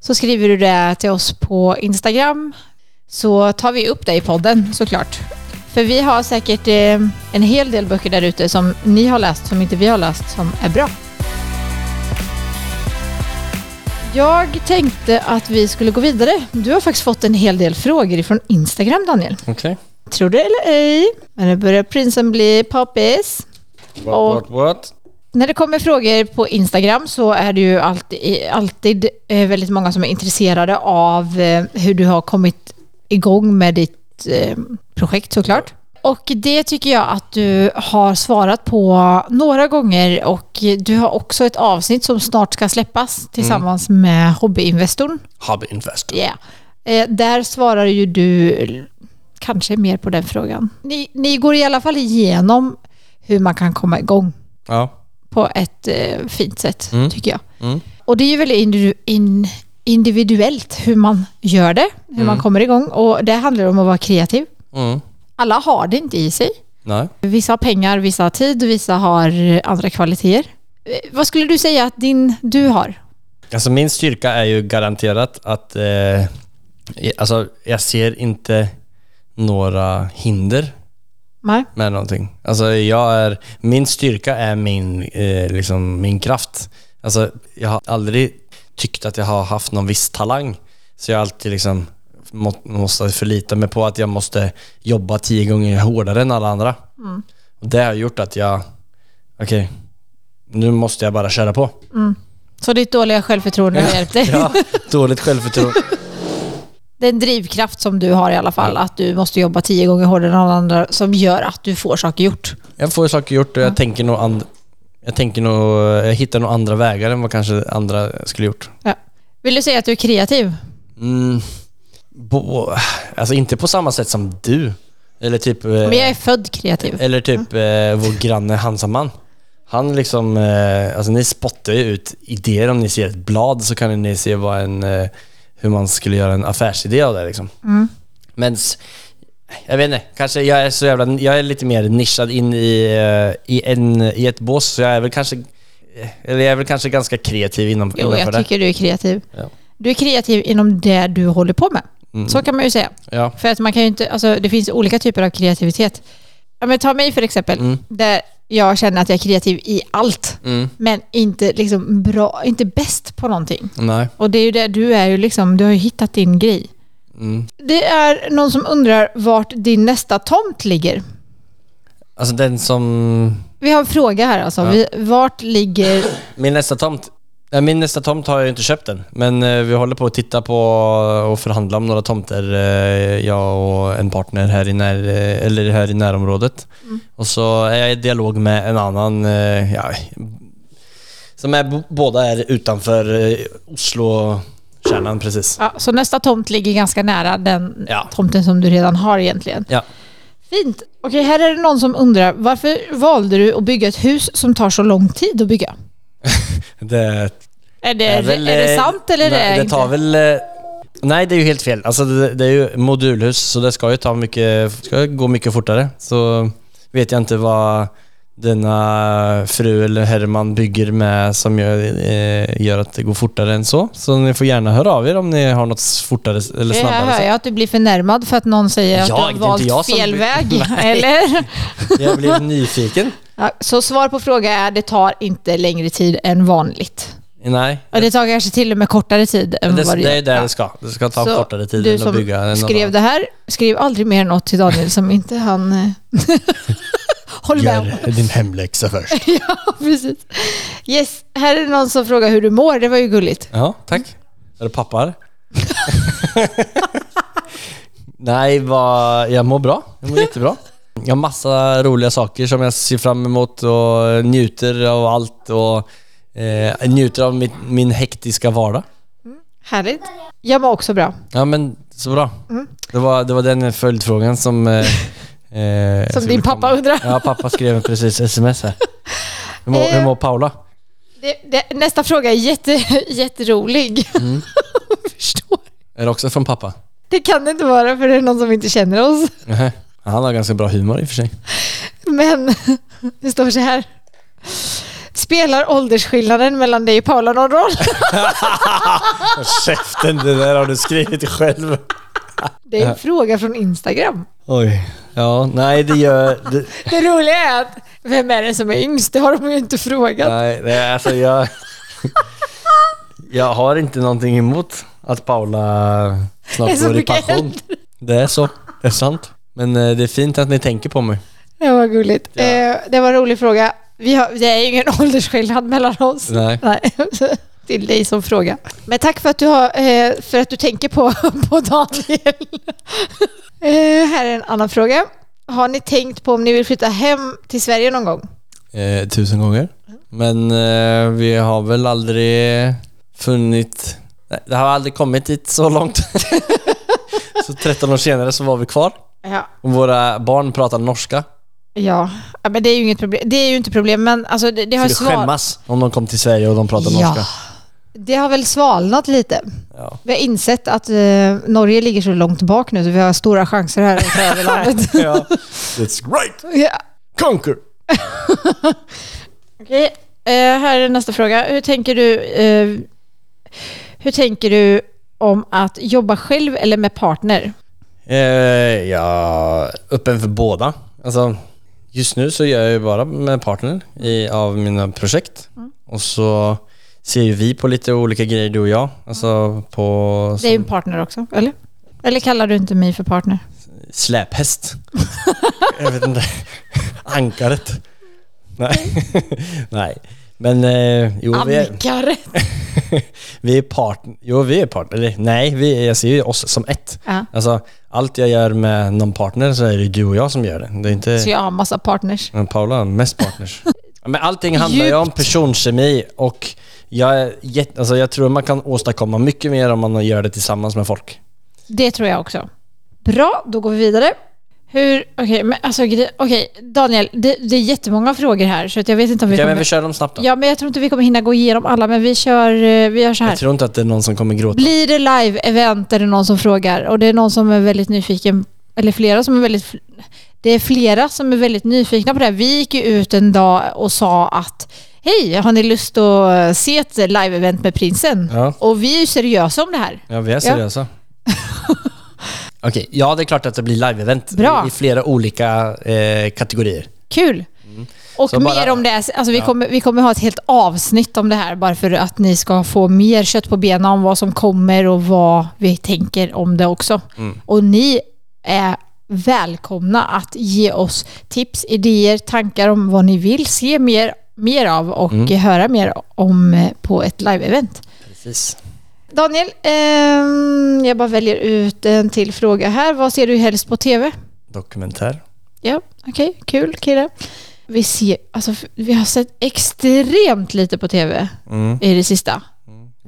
Speaker 1: Så skriver du det till oss på Instagram så tar vi upp det i podden såklart. För vi har säkert eh, en hel del böcker där ute som ni har läst som inte vi har läst som är bra. Jag tänkte att vi skulle gå vidare. Du har faktiskt fått en hel del frågor från Instagram Daniel.
Speaker 2: Okej.
Speaker 1: Tror du eller ej, men nu börjar prinsen bli poppis. Och-
Speaker 2: What, what, what?
Speaker 1: När det kommer frågor på Instagram så är det ju alltid, alltid eh, väldigt många som är intresserade av eh, hur du har kommit igång med ditt eh, projekt såklart. Och det tycker jag att du har svarat på några gånger och du har också ett avsnitt som snart ska släppas tillsammans med Hobbyinvestorn.
Speaker 2: Hobby Investor.
Speaker 1: Ja. Eh, där svarar ju du l- kanske mer på den frågan. Ni, ni går i alla fall igenom hur man kan komma igång
Speaker 2: Ja.
Speaker 1: på ett eh, fint sätt, tycker jag.
Speaker 2: Mm.
Speaker 1: Och det är ju väldigt individu- in, individuellt hur man gör det, hur man kommer igång. Och det handlar om att vara kreativ.
Speaker 2: Mm.
Speaker 1: Alla har det inte i sig.
Speaker 2: Nej.
Speaker 1: Vissa har pengar, vissa har tid, vissa har eh, andra kvaliteter. Eh, Vad skulle du säga att din, du har?
Speaker 2: Alltså min styrka är ju garanterat att eh, i- alltså, jag ser inte några hinder
Speaker 1: Nej?
Speaker 2: med någonting. Alltså jag är, min styrka är min, eh, liksom, min kraft. Alltså jag har aldrig tyckt att jag har haft någon viss talang. Så jag har alltid liksom må, måste förlita mig på att jag måste jobba tio gånger hårdare än alla andra.
Speaker 1: Mm.
Speaker 2: Och det har gjort att jag, okej, nu måste jag bara köra på.
Speaker 1: Så ditt dåliga självförtroende har hjälpt dig?
Speaker 2: Ja, dåligt självförtroende.
Speaker 1: Det är en drivkraft som du har i alla fall, att du måste jobba tio gånger hårdare än alla andra som gör att du får saker gjort.
Speaker 2: Jag får saker gjort och jag tänker nog and- jag tänker nog, jag hittar nog andra vägar än vad kanske andra skulle gjort.
Speaker 1: Ja. Vill du säga att du är kreativ?
Speaker 2: Mm. Bo, alltså inte på samma sätt som du. Eller typ, eh,
Speaker 1: Men jag är Mm. född kreativ.
Speaker 2: eller typ eh, vår granne Hansaman. Han liksom, eh, alltså ni spottar ju ut idéer. Om ni ser ett blad så kan ni se vad en, eh, hur man skulle göra en affärsidé av det liksom.
Speaker 1: Mm.
Speaker 2: Men s- jag vet inte, kanske jag är så jävla, jag är lite mer nischad in i, eh, i, en, i ett bås så jag är väl kanske, eh, eller jag är väl kanske ganska kreativ inom,
Speaker 1: Jo, jag
Speaker 2: innanför
Speaker 1: tycker du är kreativ.
Speaker 2: Ja. Mm.
Speaker 1: Du är kreativ inom det du håller på med. Så kan man ju säga.
Speaker 2: det. Ja.
Speaker 1: För att man kan ju inte, alltså, det finns olika typer av kreativitet. Ja, men ta mig för exempel,
Speaker 2: Mm.
Speaker 1: där jag känner att jag är kreativ i allt, men inte, liksom bra, inte bäst på någonting.
Speaker 2: Nej.
Speaker 1: Och det är ju det du är ju liksom, du har ju hittat din grej.
Speaker 2: Mm.
Speaker 1: Det är någon som undrar vart din nästa tomt ligger.
Speaker 2: Alltså den som
Speaker 1: Vi har en fråga här alltså. Vi, vart ligger...
Speaker 2: Min nästa tomt Nej, min nästa tomt har jag ju inte köpt än, men eh, vi håller på att titta på och förhandla om några tomter, eh, jag och en partner här i, när, eh, eller här i närområdet. Och så är jag i dialog med en annan, eh, ja, som är, bo- båda är utanför eh, Oslo-kärnan precis.
Speaker 1: Ja, så nästa tomt ligger ganska nära den
Speaker 2: Ja.
Speaker 1: tomten som du redan har egentligen.
Speaker 2: Ja.
Speaker 1: Fint. Okej, här är det någon som undrar varför valde du att bygga ett hus som tar så lång tid att bygga?
Speaker 2: Det
Speaker 1: Är det,
Speaker 2: är väl,
Speaker 1: är det
Speaker 2: eh,
Speaker 1: sant eller
Speaker 2: nej,
Speaker 1: är det
Speaker 2: det tar
Speaker 1: inte?
Speaker 2: väl... eh, Nej, det är ju helt fel. Alltså, det, det är ju modulhus, så det ska ju ta mycket, ska gå mycket fortare. Så vet jag inte vad denna fru eller Herman bygger med som gör, eh, gör att det går fortare än så. Så ni får gärna höra av er om ni har något fortare s- eller
Speaker 1: Det här
Speaker 2: snabbare.
Speaker 1: hör
Speaker 2: sätt.
Speaker 1: jag att du blir förnärmad för att någon säger att
Speaker 2: Jag,
Speaker 1: du har
Speaker 2: det är inte jag
Speaker 1: valt
Speaker 2: som
Speaker 1: fel
Speaker 2: blir-
Speaker 1: väg.
Speaker 2: Nej.
Speaker 1: Eller?
Speaker 2: jag blev nyfiken.
Speaker 1: Ja, så svar på fråga är det tar inte längre tid än vanligt.
Speaker 2: Nej.
Speaker 1: Och det tar kanske till och med kortare tid än
Speaker 2: Det,
Speaker 1: vad det
Speaker 2: det är där
Speaker 1: Ja.
Speaker 2: det ska. Det ska ta
Speaker 1: Så
Speaker 2: kortare tid
Speaker 1: du
Speaker 2: än att
Speaker 1: som
Speaker 2: bygga. en
Speaker 1: skrev
Speaker 2: annan.
Speaker 1: det här, skriv aldrig mer något till Daniel som inte han eh, Håller med om.
Speaker 2: Gör din hemläxa först.
Speaker 1: Ja, precis. Yes, här är någon som frågar hur du mår. Det var ju gulligt.
Speaker 2: Ja, tack. Är du pappar? Nej, vad, jag mår bra. Jag mår jättebra. Jag har massa roliga saker som jag ser fram emot och njuter av allt och eh, njuter av mitt, min hektiska vardag.
Speaker 1: Härligt. Jag mår också bra.
Speaker 2: Ja men så bra.
Speaker 1: Mm.
Speaker 2: Det, var, det var den följdfrågan som... Eh, eh,
Speaker 1: Som
Speaker 2: skulle
Speaker 1: din pappa
Speaker 2: komma.
Speaker 1: undrar.
Speaker 2: Ja, pappa skrev precis sms här. Hur mår, hur
Speaker 1: Eh.
Speaker 2: mår Paula?
Speaker 1: Det, det, nästa fråga är jätte, jätterolig.
Speaker 2: Mm.
Speaker 1: Förstår.
Speaker 2: Är det också från pappa?
Speaker 1: Det kan det inte vara för det är någon som inte känner oss.
Speaker 2: Nähä. Han har ganska bra humor i och för sig.
Speaker 1: Men det står så här. Spelar åldersskillnaden mellan dig och Paula någon roll?
Speaker 2: Käften, det där har du skrivit själv.
Speaker 1: Det är en fråga från Instagram.
Speaker 2: Oj. Ja, nej det gör... Det,
Speaker 1: Det roliga är att vem är det som är yngst? Det har de ju inte frågat.
Speaker 2: nej, nej, alltså jag... Jag har inte någonting emot att Paula
Speaker 1: Det
Speaker 2: snart
Speaker 1: är så
Speaker 2: går i
Speaker 1: mycket
Speaker 2: pension. Det är så. Det är sant. Men eh, det är fint att ni tänker på mig.
Speaker 1: Det var gulligt. Eh, det var en rolig fråga. Vi har, det är ju ingen åldersskillnad mellan oss.
Speaker 2: Nej.
Speaker 1: Till dig som fråga. Men tack för att du, har, eh, för att du tänker på, på Daniel. eh, här är en annan fråga. Har ni tänkt på om ni vill flytta hem till Sverige någon gång?
Speaker 2: Eh, tusen gånger. Men eh, vi har väl aldrig funnit... Nej, det har aldrig kommit dit så långt. så 13 år senare så var vi kvar.
Speaker 1: Ja.
Speaker 2: Och våra barn pratar norska.
Speaker 1: Ja, ja men det är ju inget problem. Det är ju inte problem, men alltså det, det har
Speaker 2: Skulle
Speaker 1: sval...
Speaker 2: skämmas om de kom till Sverige och de pratar
Speaker 1: Ja.
Speaker 2: norska.
Speaker 1: Det har väl svalnat lite.
Speaker 2: Ja.
Speaker 1: Vi har insett att eh, Norge ligger så långt bak nu så vi har stora chanser här att ta över landet.
Speaker 2: ja. That's right!
Speaker 1: ja.
Speaker 2: Conquer!
Speaker 1: Okej, eh, här är nästa fråga. Hur tänker du eh, Hur tänker du om att jobba själv eller med partner?
Speaker 2: Eh, ja, öppen för båda. Alltså, just nu så gör jag ju bara med partner i, av mina projekt.
Speaker 1: Mm.
Speaker 2: Och så ser ju vi på lite olika grejer, du och jag. Alltså på
Speaker 1: Det är ju en partner också, eller? Eller kallar du inte mig för partner?
Speaker 2: släphäst. jag vet inte. Ankaret. Nej.
Speaker 1: Mm.
Speaker 2: Nej. Men eh, jo, vi är,
Speaker 1: Ankare!
Speaker 2: vi är partner. Jo, vi är partner. Eller, nej, vi, jag ser ju oss som ett.
Speaker 1: Ja.
Speaker 2: Alltså, allt jag gör med någon partner så är det du och jag som gör det. Det är inte...
Speaker 1: Så jag har massa partners.
Speaker 2: Men Paula har mest partners. Ja, Men allting handlar ju
Speaker 1: Djupt.
Speaker 2: om personkemi och jag, är jätte, alltså jag tror man kan åstadkomma mycket mer om man gör det tillsammans med folk.
Speaker 1: Det tror jag också. Bra, då går vi vidare. Hur, okej, men alltså, gre- okej, Daniel, det, det är jättemånga frågor här så att jag vet inte om vi
Speaker 2: Okej, men
Speaker 1: kommer...
Speaker 2: vi kör dem snabbt då.
Speaker 1: Ja, men jag tror inte vi kommer hinna gå igenom alla, men vi kör, eh, vi gör så här.
Speaker 2: Jag tror inte att det är någon som kommer gråta.
Speaker 1: Blir det live-event är det någon som frågar och det är någon som är väldigt nyfiken, eller flera som är väldigt... Det är flera som är väldigt nyfikna på det här. Vi gick ju ut en dag och sa att hej, har ni lust att se ett live-event med prinsen?
Speaker 2: Ja.
Speaker 1: Och vi är ju seriösa om det här.
Speaker 2: Ja, vi är seriösa. Okej, ja det är klart att det blir live-event
Speaker 1: Bra.
Speaker 2: i flera olika eh, kategorier.
Speaker 1: Kul! Och
Speaker 2: Mm. Så bara-
Speaker 1: mer om det. Alltså vi, kommer, vi kommer ha ett helt avsnitt om det här bara för att ni ska få mer kött på benen om vad som kommer och vad vi tänker om det också.
Speaker 2: Mm.
Speaker 1: Och ni är välkomna att ge oss tips, idéer, tankar om vad ni vill se mer, mer av och
Speaker 2: Mm.
Speaker 1: höra mer om eh, på ett live-event.
Speaker 2: Precis.
Speaker 1: Daniel, ehm, jag bara väljer ut en till fråga här. Vad ser du helst på TV?
Speaker 2: Dokumentär.
Speaker 1: Ja, okej. Kul kille. Vi ser, alltså f- vi har sett extremt lite på tv
Speaker 2: Mm.
Speaker 1: i det sista.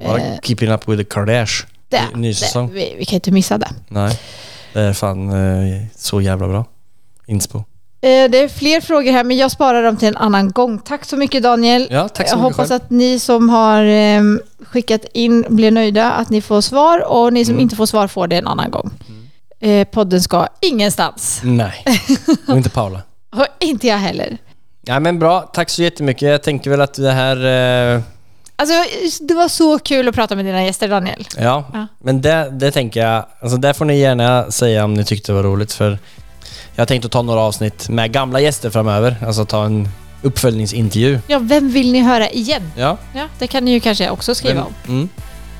Speaker 2: Bara
Speaker 1: Eh.
Speaker 2: Keeping Up With The Kardashians.
Speaker 1: Det,
Speaker 2: Ny- ny säsong.
Speaker 1: det, vi, vi kan inte missa det.
Speaker 2: Nej, det är fan eh, så jävla bra. Inspo.
Speaker 1: Eh, det är fler frågor här, men jag sparar dem till en annan gång. Tack så mycket Daniel.
Speaker 2: Ja, tack så
Speaker 1: jag
Speaker 2: mycket
Speaker 1: hoppas
Speaker 2: själv.
Speaker 1: att ni som har ehm, skickat in blir nöjda, att ni får svar och ni som
Speaker 2: Mm.
Speaker 1: inte får svar får det en annan gång. Eh, podden ska ingenstans.
Speaker 2: Nej, och inte Paula.
Speaker 1: Och inte jag heller.
Speaker 2: Ja, men bra, tack så jättemycket. Jag tänker väl att det här... Eh,
Speaker 1: Alltså, det var så kul att prata med dina gäster Daniel.
Speaker 2: ja.
Speaker 1: Ja.
Speaker 2: men det, det tänker jag... Alltså där får ni gärna säga om ni tyckte det var roligt för jag har tänkt att ta några avsnitt med gamla gäster framöver. Alltså ta en uppföljningsintervju.
Speaker 1: Ja, vem vill ni höra igen?
Speaker 2: Ja.
Speaker 1: Ja, det kan ni ju kanske också skriva om.
Speaker 2: Mm.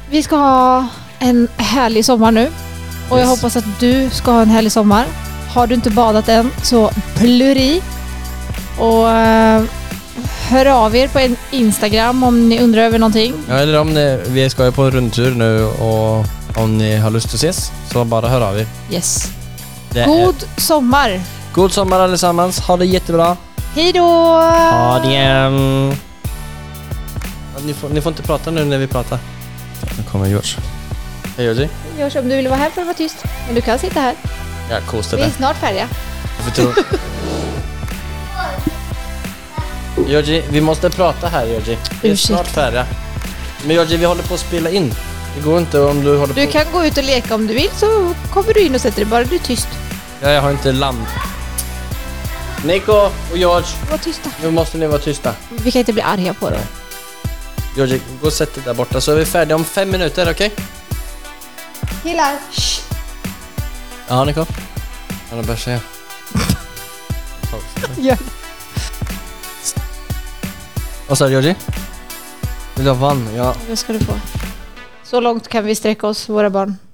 Speaker 1: Vi ska ha en härlig sommar nu. Och jag
Speaker 2: Yes.
Speaker 1: hoppas att du ska ha en härlig sommar. Har du inte badat än, så plurr i. Och eh, hör av er på en Instagram om ni undrar över någonting.
Speaker 2: Ja, eller om ni, vi ska ju på en rundtur nu och om ni har lust att ses så bara hör av er.
Speaker 1: Yes.
Speaker 2: Det är-
Speaker 1: God sommar!
Speaker 2: God sommar allesammans, ha det jättebra.
Speaker 1: Hej då!
Speaker 2: Ha det... ehm. Ja, Ni får, ni får inte prata nu när vi pratar. Nu kommer George. Hej Georgie.
Speaker 1: Gör som du vill vara här för att vara tyst. Men du kan sitta här.
Speaker 2: Jag kostade.
Speaker 1: Vi är snart färdiga.
Speaker 2: Varför tror Georgie, vi måste prata här Georgie. Vi är
Speaker 1: Ursäkta.
Speaker 2: snart färdiga. Men Georgie, vi håller på att spela in. Det går inte om du håller
Speaker 1: Du
Speaker 2: på...
Speaker 1: kan gå ut och leka om du vill så kommer du in och sätter dig bara du är tyst.
Speaker 2: Ja, jag har inte land. Nico och George,
Speaker 1: Var tysta.
Speaker 2: nu måste ni vara tysta.
Speaker 1: Vi kan inte bli arga på det.
Speaker 2: Georgie, gå och sätt dig där borta så är vi färdiga om fem minuter, okej?
Speaker 1: Killar! Shh.
Speaker 2: Ja, Nico. Han har börjat säga.
Speaker 1: Gör
Speaker 2: Vad sa du Georgie? Vill du ha vann? Ja.
Speaker 1: det. Vad ska du få? Så långt kan vi sträcka oss, våra barn.